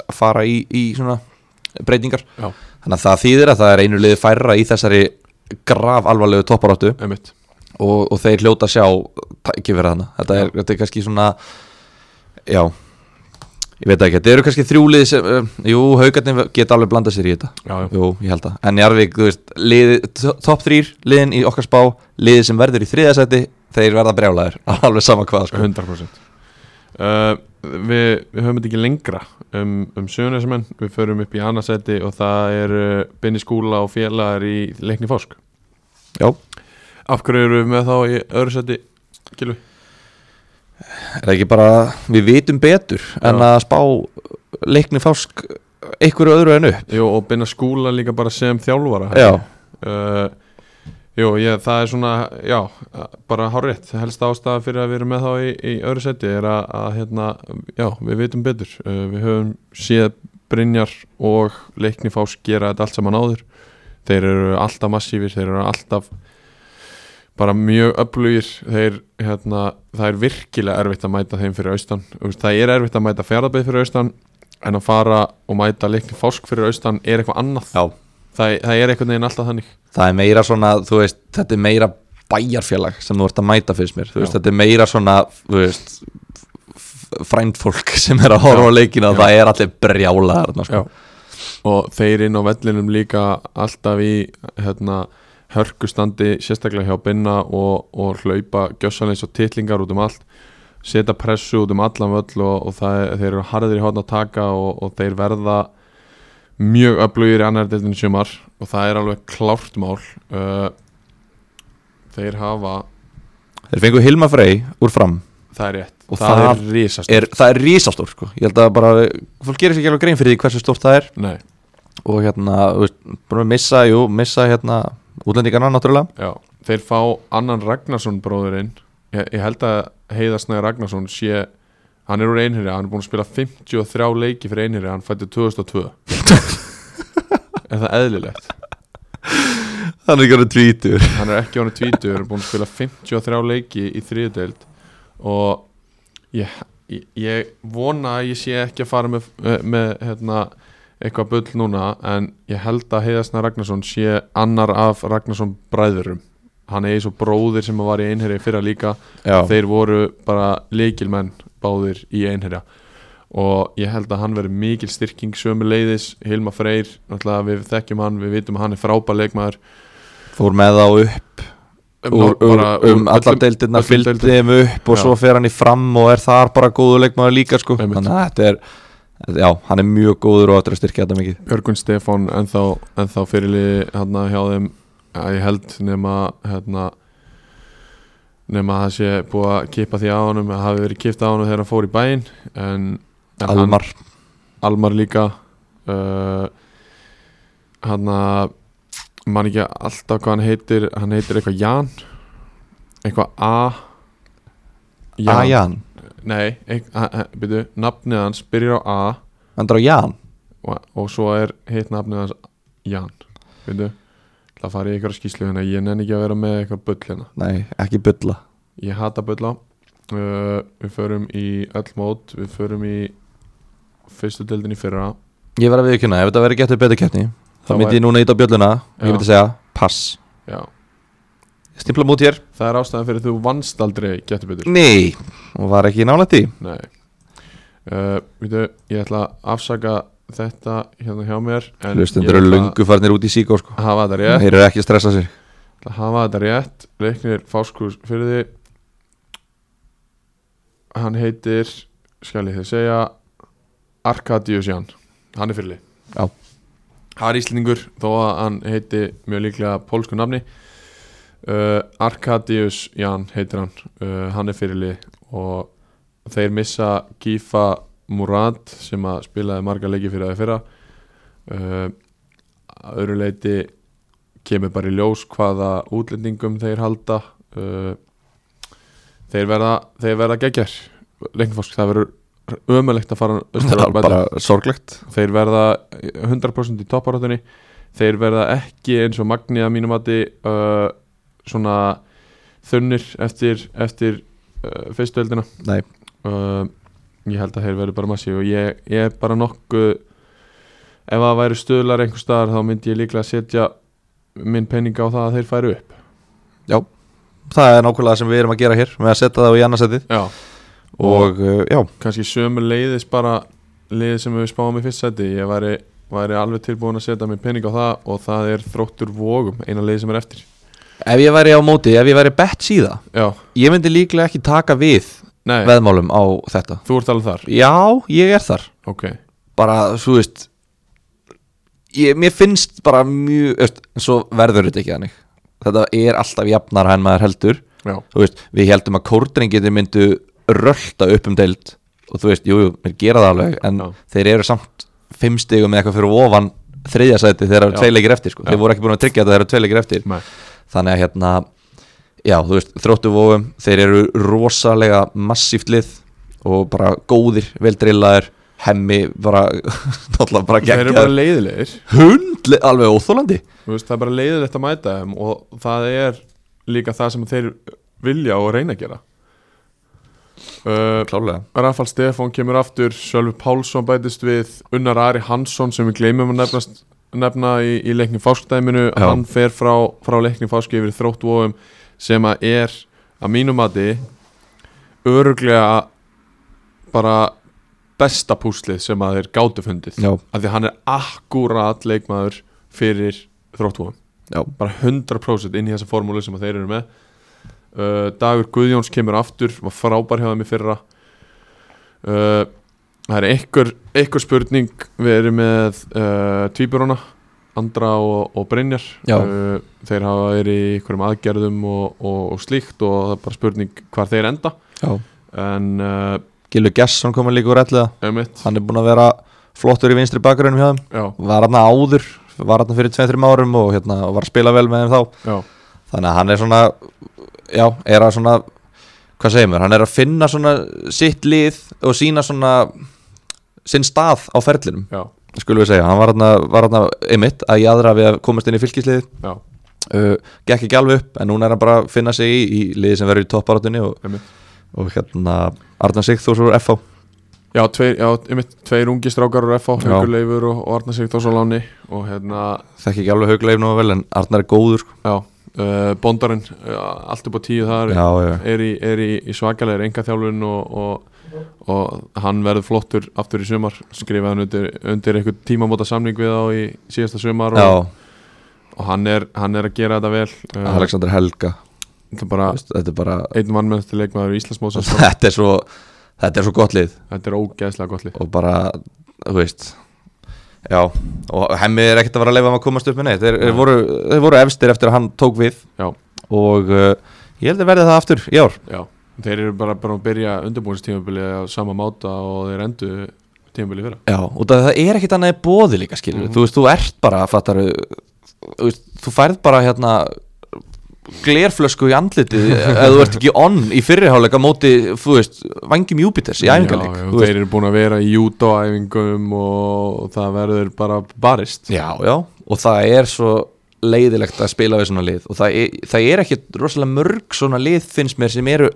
Speaker 2: að fara í, í svona breytingar
Speaker 1: Já.
Speaker 2: þannig að það þýðir að það er einu liðið færra í þessari graf alvarlegu topparáttu
Speaker 1: emitt
Speaker 2: og, og þeir hljóta að sjá tækifæra þarna, þetta er, þetta er kannski svona já ég veit það ekki, þetta eru kannski þrjúlið sem, um, jú, haugarnir geta alveg blanda sér í þetta
Speaker 1: já, já.
Speaker 2: Jú, ég held það En Jarvik, þú veist, lið, top 3 liðin í okkar spá, liði sem verður í þriðasæti þeir verða brjálæður, alveg sama hvað sko.
Speaker 1: 100% uh, við, við höfum þetta ekki lengra um, um sögurnesmenn, við förum upp í annarsæti og það er uh, Binni Skúla og félagar í leikni fósk
Speaker 2: Já,
Speaker 1: af hverju eru við með þá í öðru sæti Kilvi?
Speaker 2: er það ekki bara við vitum betur en
Speaker 1: Já.
Speaker 2: að spá leikni fásk einhverju öðru en upp
Speaker 1: Jú, og Binni Skúla líka bara sem þjálfara
Speaker 2: Já,
Speaker 1: uh, Jú, ég, það er svona, já, bara hárétt helst ástæða fyrir að við erum með þá í, í öðru seti er að, að hérna, já, við vitum betur uh, við höfum séð Brynjar og Leikni Fás gera þetta allt saman áður þeir eru alltaf massífir, þeir eru alltaf bara mjög öflugir þeir, hérna, það er virkilega erfitt að mæta þeim fyrir austan Þú veist, það er erfitt að mæta fjárðabeið fyrir austan en að fara og mæta leikni fásk fyrir austan er eitthvað annað
Speaker 2: Já.
Speaker 1: það, það er einhvern veginn alltaf þannig
Speaker 2: það er meira svona, þú veist, þetta er meira bæjarfélag sem þú ert að mæta fyrst mér þú veist,
Speaker 1: Já.
Speaker 2: þetta er meira svona, þú veist frænd fólk sem er að horfa
Speaker 1: Já.
Speaker 2: á leikina og
Speaker 1: Já.
Speaker 2: það er allir brjálæðar þarna, sko.
Speaker 1: og þeir inn á vellinum líka alltaf í hérna, hörkustandi sérstaklega hjá Binna og, og hlaupa gjössanleis og titlingar út um allt setja pressu út um allan völl og, og það, er- þeir eru harðir í hóðn að taka og, og þeir verða mjög öflugir í annar deltinn sumar og það er alveg klárt mál uh, þeir hafa
Speaker 2: Þeir fengu Hilma Frey úr fram
Speaker 1: það er rétt,
Speaker 2: Og
Speaker 1: það,
Speaker 2: það
Speaker 1: er risast
Speaker 2: er, það er rísastór sko. ég held að bara, fólk gerir sér ekki alveg grein fyrir því hversu stórt það er
Speaker 1: nei,
Speaker 2: og hérna, þú veist, bara að missa, jú, missa hérna, útlendingarna náttúrulega
Speaker 1: Já, þeir fá annan Ragnarsson bróðurinn ég, ég held að Heiðar Snæði Ragnarsson sé hann er úr einherja, hann er búin að spila 53 leiki fyrir einherja, hann fætti 2002 Er það eðlilegt?
Speaker 2: hann er ekki alveg tvítur
Speaker 1: Hann er ekki ánum tvítur, er búin að spila 53 leiki í þriðdeild og ég, ég, ég vona að ég sé ekki að fara með, með hérna, eitthvað bull núna en ég held að Heiðar Snæði Ragnarsson sé annar af Ragnarsson bræðurum hann eigi svo bróðir sem var í einherja í fyrra líka
Speaker 2: já,
Speaker 1: þeir voru bara leikilmenn báðir í einherja og ég held að hann veri mikil styrking sömu leiðis, Hilma Freyr náttúrulega við þekkjum hann, við vitum að hann er frábær leikmaður
Speaker 2: fór með þá upp úr, úr, um allar deildirna fylgdi þeim upp og
Speaker 1: Já.
Speaker 2: svo fer hann í fram og er þar bara góður leikmaður líka sko.
Speaker 1: Einmitt.
Speaker 2: þannig að þetta er já, hann er mjög góður og ættir að styrkja þetta mikið
Speaker 1: Björgun Stefán en þá, en þá fyrirliði hérna hjá þeim að ég held nema hérna nema að það sé búið að kippa því á honum að hafi verið kipt á honum þegar hann fór í bæinn en, en hann-
Speaker 2: Almar,
Speaker 1: Almar líka uh, hann að mann ekki alltaf hvað hann heitir hann heitir eitthvað Jan eitthvað A
Speaker 2: Ah, Jan. Ajan,
Speaker 1: nei, eitth- a- a- byrju, nafnið hans byrjar á A
Speaker 2: hann er á Jan
Speaker 1: og, og svo er heitt nafnið hans Jan byrju, það fari í ykkur skýslu hérna ég nenni ekki að vera með eitthvað bull hérna
Speaker 2: nei, ekki Bulla
Speaker 1: ég hata bulla uh, við förum í öll mót við förum í fyrstu deildin í fyrra
Speaker 2: Ég verð að viðkjöna, ef þetta verður gett við betur keppni þá
Speaker 1: Þá
Speaker 2: myndi ég núna ít á bjölluna og
Speaker 1: Já.
Speaker 2: ég myndi segja pass
Speaker 1: já
Speaker 2: Ég Stimpla múti hér
Speaker 1: Það er ástæðan fyrir að þú vannst aldrei getur betur
Speaker 2: Nei, hún var ekki nálægt í
Speaker 1: Nei uh, Vítu, ég ætla að afsaka þetta hérna hjá mér en ég
Speaker 2: Hlustendur eru
Speaker 1: ætla
Speaker 2: lungu farnir út í síkó sko
Speaker 1: að hafa þetta rétt
Speaker 2: Þeir eru ekki að stressa sér
Speaker 1: ætla að hafa þetta rétt Leiknir Fáskurs fyrir því Hann heitir skal ég þið segja Arkadius Jan Hann er fyrirli
Speaker 2: Já.
Speaker 1: Hann er íslendingur þó að hann heiti mjög líklega pólsku nafni uh, Arkadius Jan heitir hann uh, Hann er fyrirli og þeir missa Gifa Murad sem að spilaði marga leiki fyrir það fyrra uh, að öðru leiti kemur bara í ljós hvaða útlendingum þeir halda uh, þeir verða þeir verða geggjær lengfosk, það verður ömulegt að fara austur
Speaker 2: Það
Speaker 1: á
Speaker 2: er
Speaker 1: bara...
Speaker 2: bara sorglegt
Speaker 1: þeir verða 100% í topparátunni þeir verða ekki eins og Magni að mínum mati uh, svona þunnir eftir, eftir uh, fyrstu eldina
Speaker 2: Nei,
Speaker 1: uh, ég held að þeir verði bara massíf og ég, ég er bara nokkuð ef það væri stöðlar einhver staðar þá myndi ég líklega setja minn penning á það að þeir færu upp
Speaker 2: það er nákvæmlega sem við erum að gera hér Með að setja það á í annarsettið
Speaker 1: já,
Speaker 2: Og uh, já,
Speaker 1: kannski sömu leiðis bara leiði sem við spáum í fyrst seti ég væri, væri alveg tilbúin að setja minn penning á það og það er þróttur vógum eina leiði sem er eftir
Speaker 2: ef ég væri á móti, ef ég væri bett síða
Speaker 1: já,
Speaker 2: Ég myndi líklega ekki taka við
Speaker 1: nei,
Speaker 2: veðmálum á þetta
Speaker 1: þú ert alveg þar
Speaker 2: Já, ég er þar
Speaker 1: ok,
Speaker 2: Bara, þú veist ég, Mér finnst bara mjög veist, En svo verður þetta ekki þannig Þetta er alltaf jafnar en maður heldur
Speaker 1: já,
Speaker 2: þú veist, við heldum að kórdrenginir myndu rölda upp um deild og þú veist, jú, jú, þeir gera það alveg en
Speaker 1: Já.
Speaker 2: þeir eru samt fimm stigum eða eitthvað fyrir ofan þriðja sæti þegar það eru
Speaker 1: Já.
Speaker 2: tvei leikir eftir sko.
Speaker 1: Já.
Speaker 2: þeir voru ekki búin að tryggja þetta þegar það eru tvei leikir eftir
Speaker 1: nei,
Speaker 2: þannig að hérna, já, þú veist þróttu vóum, þeir eru rosalega massíft lið og bara góðir, veldrillaðir hemmi, bara, náttúrulega bara
Speaker 1: þeir eru
Speaker 2: geggjaðir,
Speaker 1: bara leiðilegir
Speaker 2: hund, alveg óþólandi
Speaker 1: Þú veist, það er bara leiðilegt að mæta þeim og það er líka það sem þeir vilja og reyna að gera uh,
Speaker 2: klálega,
Speaker 1: Rafal Stefán kemur aftur Sölvi Pálsson bætist við Unnar Ari Hansson sem við gleymum að nefnast, nefna í, í leikni fáskdæminu
Speaker 2: Já.
Speaker 1: hann fer frá, frá leikni fáski yfir þróttvóum sem að er að mínum mati öruglega bara besta púslið sem að þeir gátu fundið
Speaker 2: já,
Speaker 1: af því að hann er akkurat leikmaður fyrir þróttvóum
Speaker 2: já
Speaker 1: bara 100% inn í þessa formúlu sem að þeir eru með uh, Dagur Guðjóns kemur aftur var frábær hjá þeim í fyrra uh, það er einhver, einhver spurning við erum með uh, tvíburana Andra og, og Brynjar
Speaker 2: Já.
Speaker 1: Uh, þeir hafa verið í einhverjum aðgerðum og, og, og slíkt og það er bara spurning hvar þeir enda
Speaker 2: Já.
Speaker 1: en uh,
Speaker 2: Gilvi Gesson komur líka úr ætliða
Speaker 1: emitt
Speaker 2: hann er búin að vera flottur í vinstri bakgrunum hjá þeim
Speaker 1: já,
Speaker 2: var hann áður var hann fyrir 2-3 árum og hérna, og var að spila vel með þeim þá
Speaker 1: já,
Speaker 2: þannig að hann er svona já, er að svona hvað segir mér, hann er að finna svona sitt lið og sína svona sinn stað á ferlinum
Speaker 1: já,
Speaker 2: skulum við segja, hann var hann var hann einmitt að jæðra við að komast inn í fylkislið
Speaker 1: já,
Speaker 2: uh, gekk ekki alveg upp en núna er hann bara að finna sig í, í liði sem verður í topparátunni og,
Speaker 1: emitt
Speaker 2: og hérna Arnar Sigþórs úr FH
Speaker 1: Já, tveir, já, einmitt, tveir ungi strákar úr FH,
Speaker 2: Já.
Speaker 1: Haukur Leifur og, og Arnar Sigtós á láni og hérna,
Speaker 2: þekk ekki alveg haugleif nú vel en Arnar er góður sko.
Speaker 1: já, uh, bondarinn, uh, allt upp á tíu þar,
Speaker 2: já, já,
Speaker 1: er í, er í, í svakalegir engaþjálfun og, og, og hann verður flottur aftur í sumar, skrifaði hann undir, undir eitthvað tímamóta samning við á í síðasta sumar
Speaker 2: já,
Speaker 1: og, og hann, er, hann er að gera þetta vel, uh,
Speaker 2: Alexander Helga
Speaker 1: þetta er bara
Speaker 2: Veist, þetta er bara
Speaker 1: einn vannmennsti leikmaður í Íslandsmóðsins,
Speaker 2: þetta er svo þetta er svo gott lið
Speaker 1: þetta er ógeðslega gott lið.
Speaker 2: og bara, þú veist já, og hemmi er ekkert að vera að leifa um að komast upp með neitt, þeir, þeir,
Speaker 1: Nei.
Speaker 2: voru, þeir voru efstir eftir að hann tók við
Speaker 1: Já.
Speaker 2: og uh, ég held að verði það aftur í ár,
Speaker 1: Já, þeir eru bara, bara að byrja undirbúinstímabilið á sama máta og þeir endu tímabilið fyrra.
Speaker 2: já, út af því það er ekkert annað í bóði líka skilur,
Speaker 1: Mhm.
Speaker 2: þú veist, þú ert bara fattar, þú veist, þú færð bara hérna glerflösku í andlitið ef þú ert ekki on í fyrirháleika móti, þú veist, vangjum Júpiters í æfingarleik,
Speaker 1: Já, já,
Speaker 2: þú veist.
Speaker 1: þeir eru búin að vera í jútóæfingum og það verður bara barist
Speaker 2: Já, já, og það er svo leiðilegt að spila við svona lið og það er, það er ekki rosalega mörg svona lið finnst mér sem eru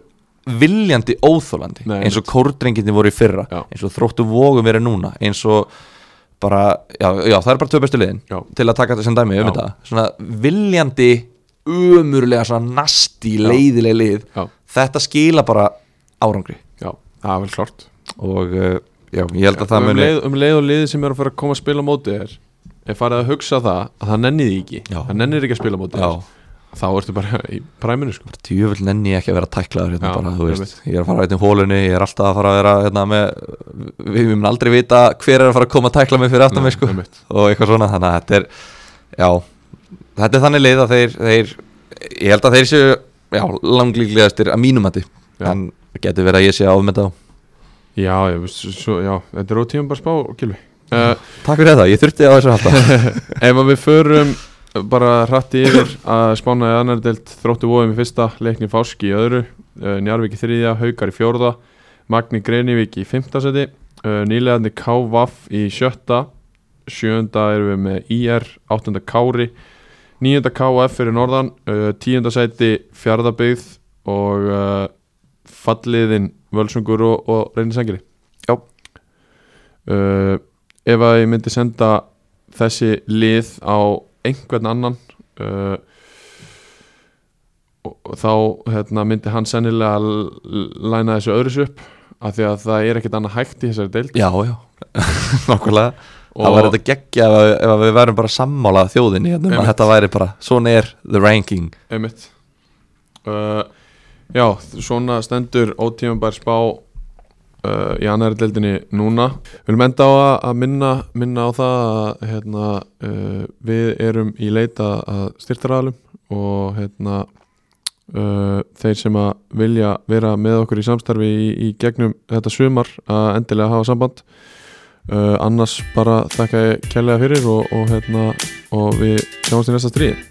Speaker 2: viljandi óþólandi,
Speaker 1: Nei,
Speaker 2: eins og kórdrenginni voru í fyrra,
Speaker 1: Já.
Speaker 2: eins og þróttu vógum verið núna, eins og bara, já, já það er bara tvö bestu liðin
Speaker 1: Já.
Speaker 2: til að taka þetta sem dæmi
Speaker 1: Já.
Speaker 2: um þetta svona viljandi umurlega svona nasti leiðileg lið
Speaker 1: Já.
Speaker 2: þetta skila bara árangri
Speaker 1: Já, það er vel klart
Speaker 2: og uh, já, ég held að það
Speaker 1: um,
Speaker 2: muni
Speaker 1: leið, um leið og liðið sem eru að fara að koma að spila á móti þér er farið að hugsa það að það nennið því ekki
Speaker 2: Já.
Speaker 1: það nennir ekki að spila á móti
Speaker 2: Já,
Speaker 1: þér þá ertu bara í præminu sko.
Speaker 2: djöfull nenni ég ekki að vera tæklaður hérna
Speaker 1: Já,
Speaker 2: bara, þú veist,
Speaker 1: einmitt.
Speaker 2: ég er að fara að veitna í hólunni ég er alltaf að fara að vera hérna með við mun aldrei vita hver er að fara að koma að tækla mig fyrir aftan mig sko
Speaker 1: Nei, einmitt.
Speaker 2: og eitthvað svona, þannig að þetta er já, þetta er þannig leið að þeir, þeir ég held að þeir séu já, langlíklegastir að mínum hætti
Speaker 1: Já.
Speaker 2: en það getur verið að ég sé áfmynda á
Speaker 1: já, já, s- svo, já, þetta er ótíðum bara spá Gilvi uh,
Speaker 2: Takk fyrir það, ég þurfti á þessu að halda
Speaker 1: Ef að við förum bara hratti yfir að spánaði annar delt þróttu vóðum í fyrsta, leikni Fáski í öðru, uh, Njarvík í þriðja, Haukar í fjórða, Magni Greinivík í fimmtasæti, uh, nýlegaðni K.Vaff í sjötta, sjöunda erum við með IR, áttunda Kári, níunda K.F. fyrir norðan, uh, tíunda sæti fjardabygð og uh, falliðin Völsungur og, og reynisangri.
Speaker 2: Já.
Speaker 1: Uh, ef að ég myndi senda þessi lið á einhvern annan uh, og og þá hérna, myndi hann sennilega l- l- læna þessu öðru sér upp af því að það er ekkert annað hægt í þessari deild
Speaker 2: Já, já, nákvæmlega Það
Speaker 1: Og-
Speaker 2: var þetta geggja ef, að- ef að við værum bara sammála þjóðinni hérna, um að
Speaker 1: Einmitt.
Speaker 2: þetta væri bara, svona er the ranking
Speaker 1: einmitt uh, já, svona stendur ótímanbær spá uh, í annari deildinni núna við viljum enda á að, að minna, minna á það að hérna, uh, við erum í leita að styrtaraðalum og hérna Uh, þeir sem að vilja vera með okkur í samstarfi í, í gegnum þetta sumar að endilega hafa samband uh, annars bara þakka ég kærlega fyrir og, og, hérna, og við sjáumst í næsta stríði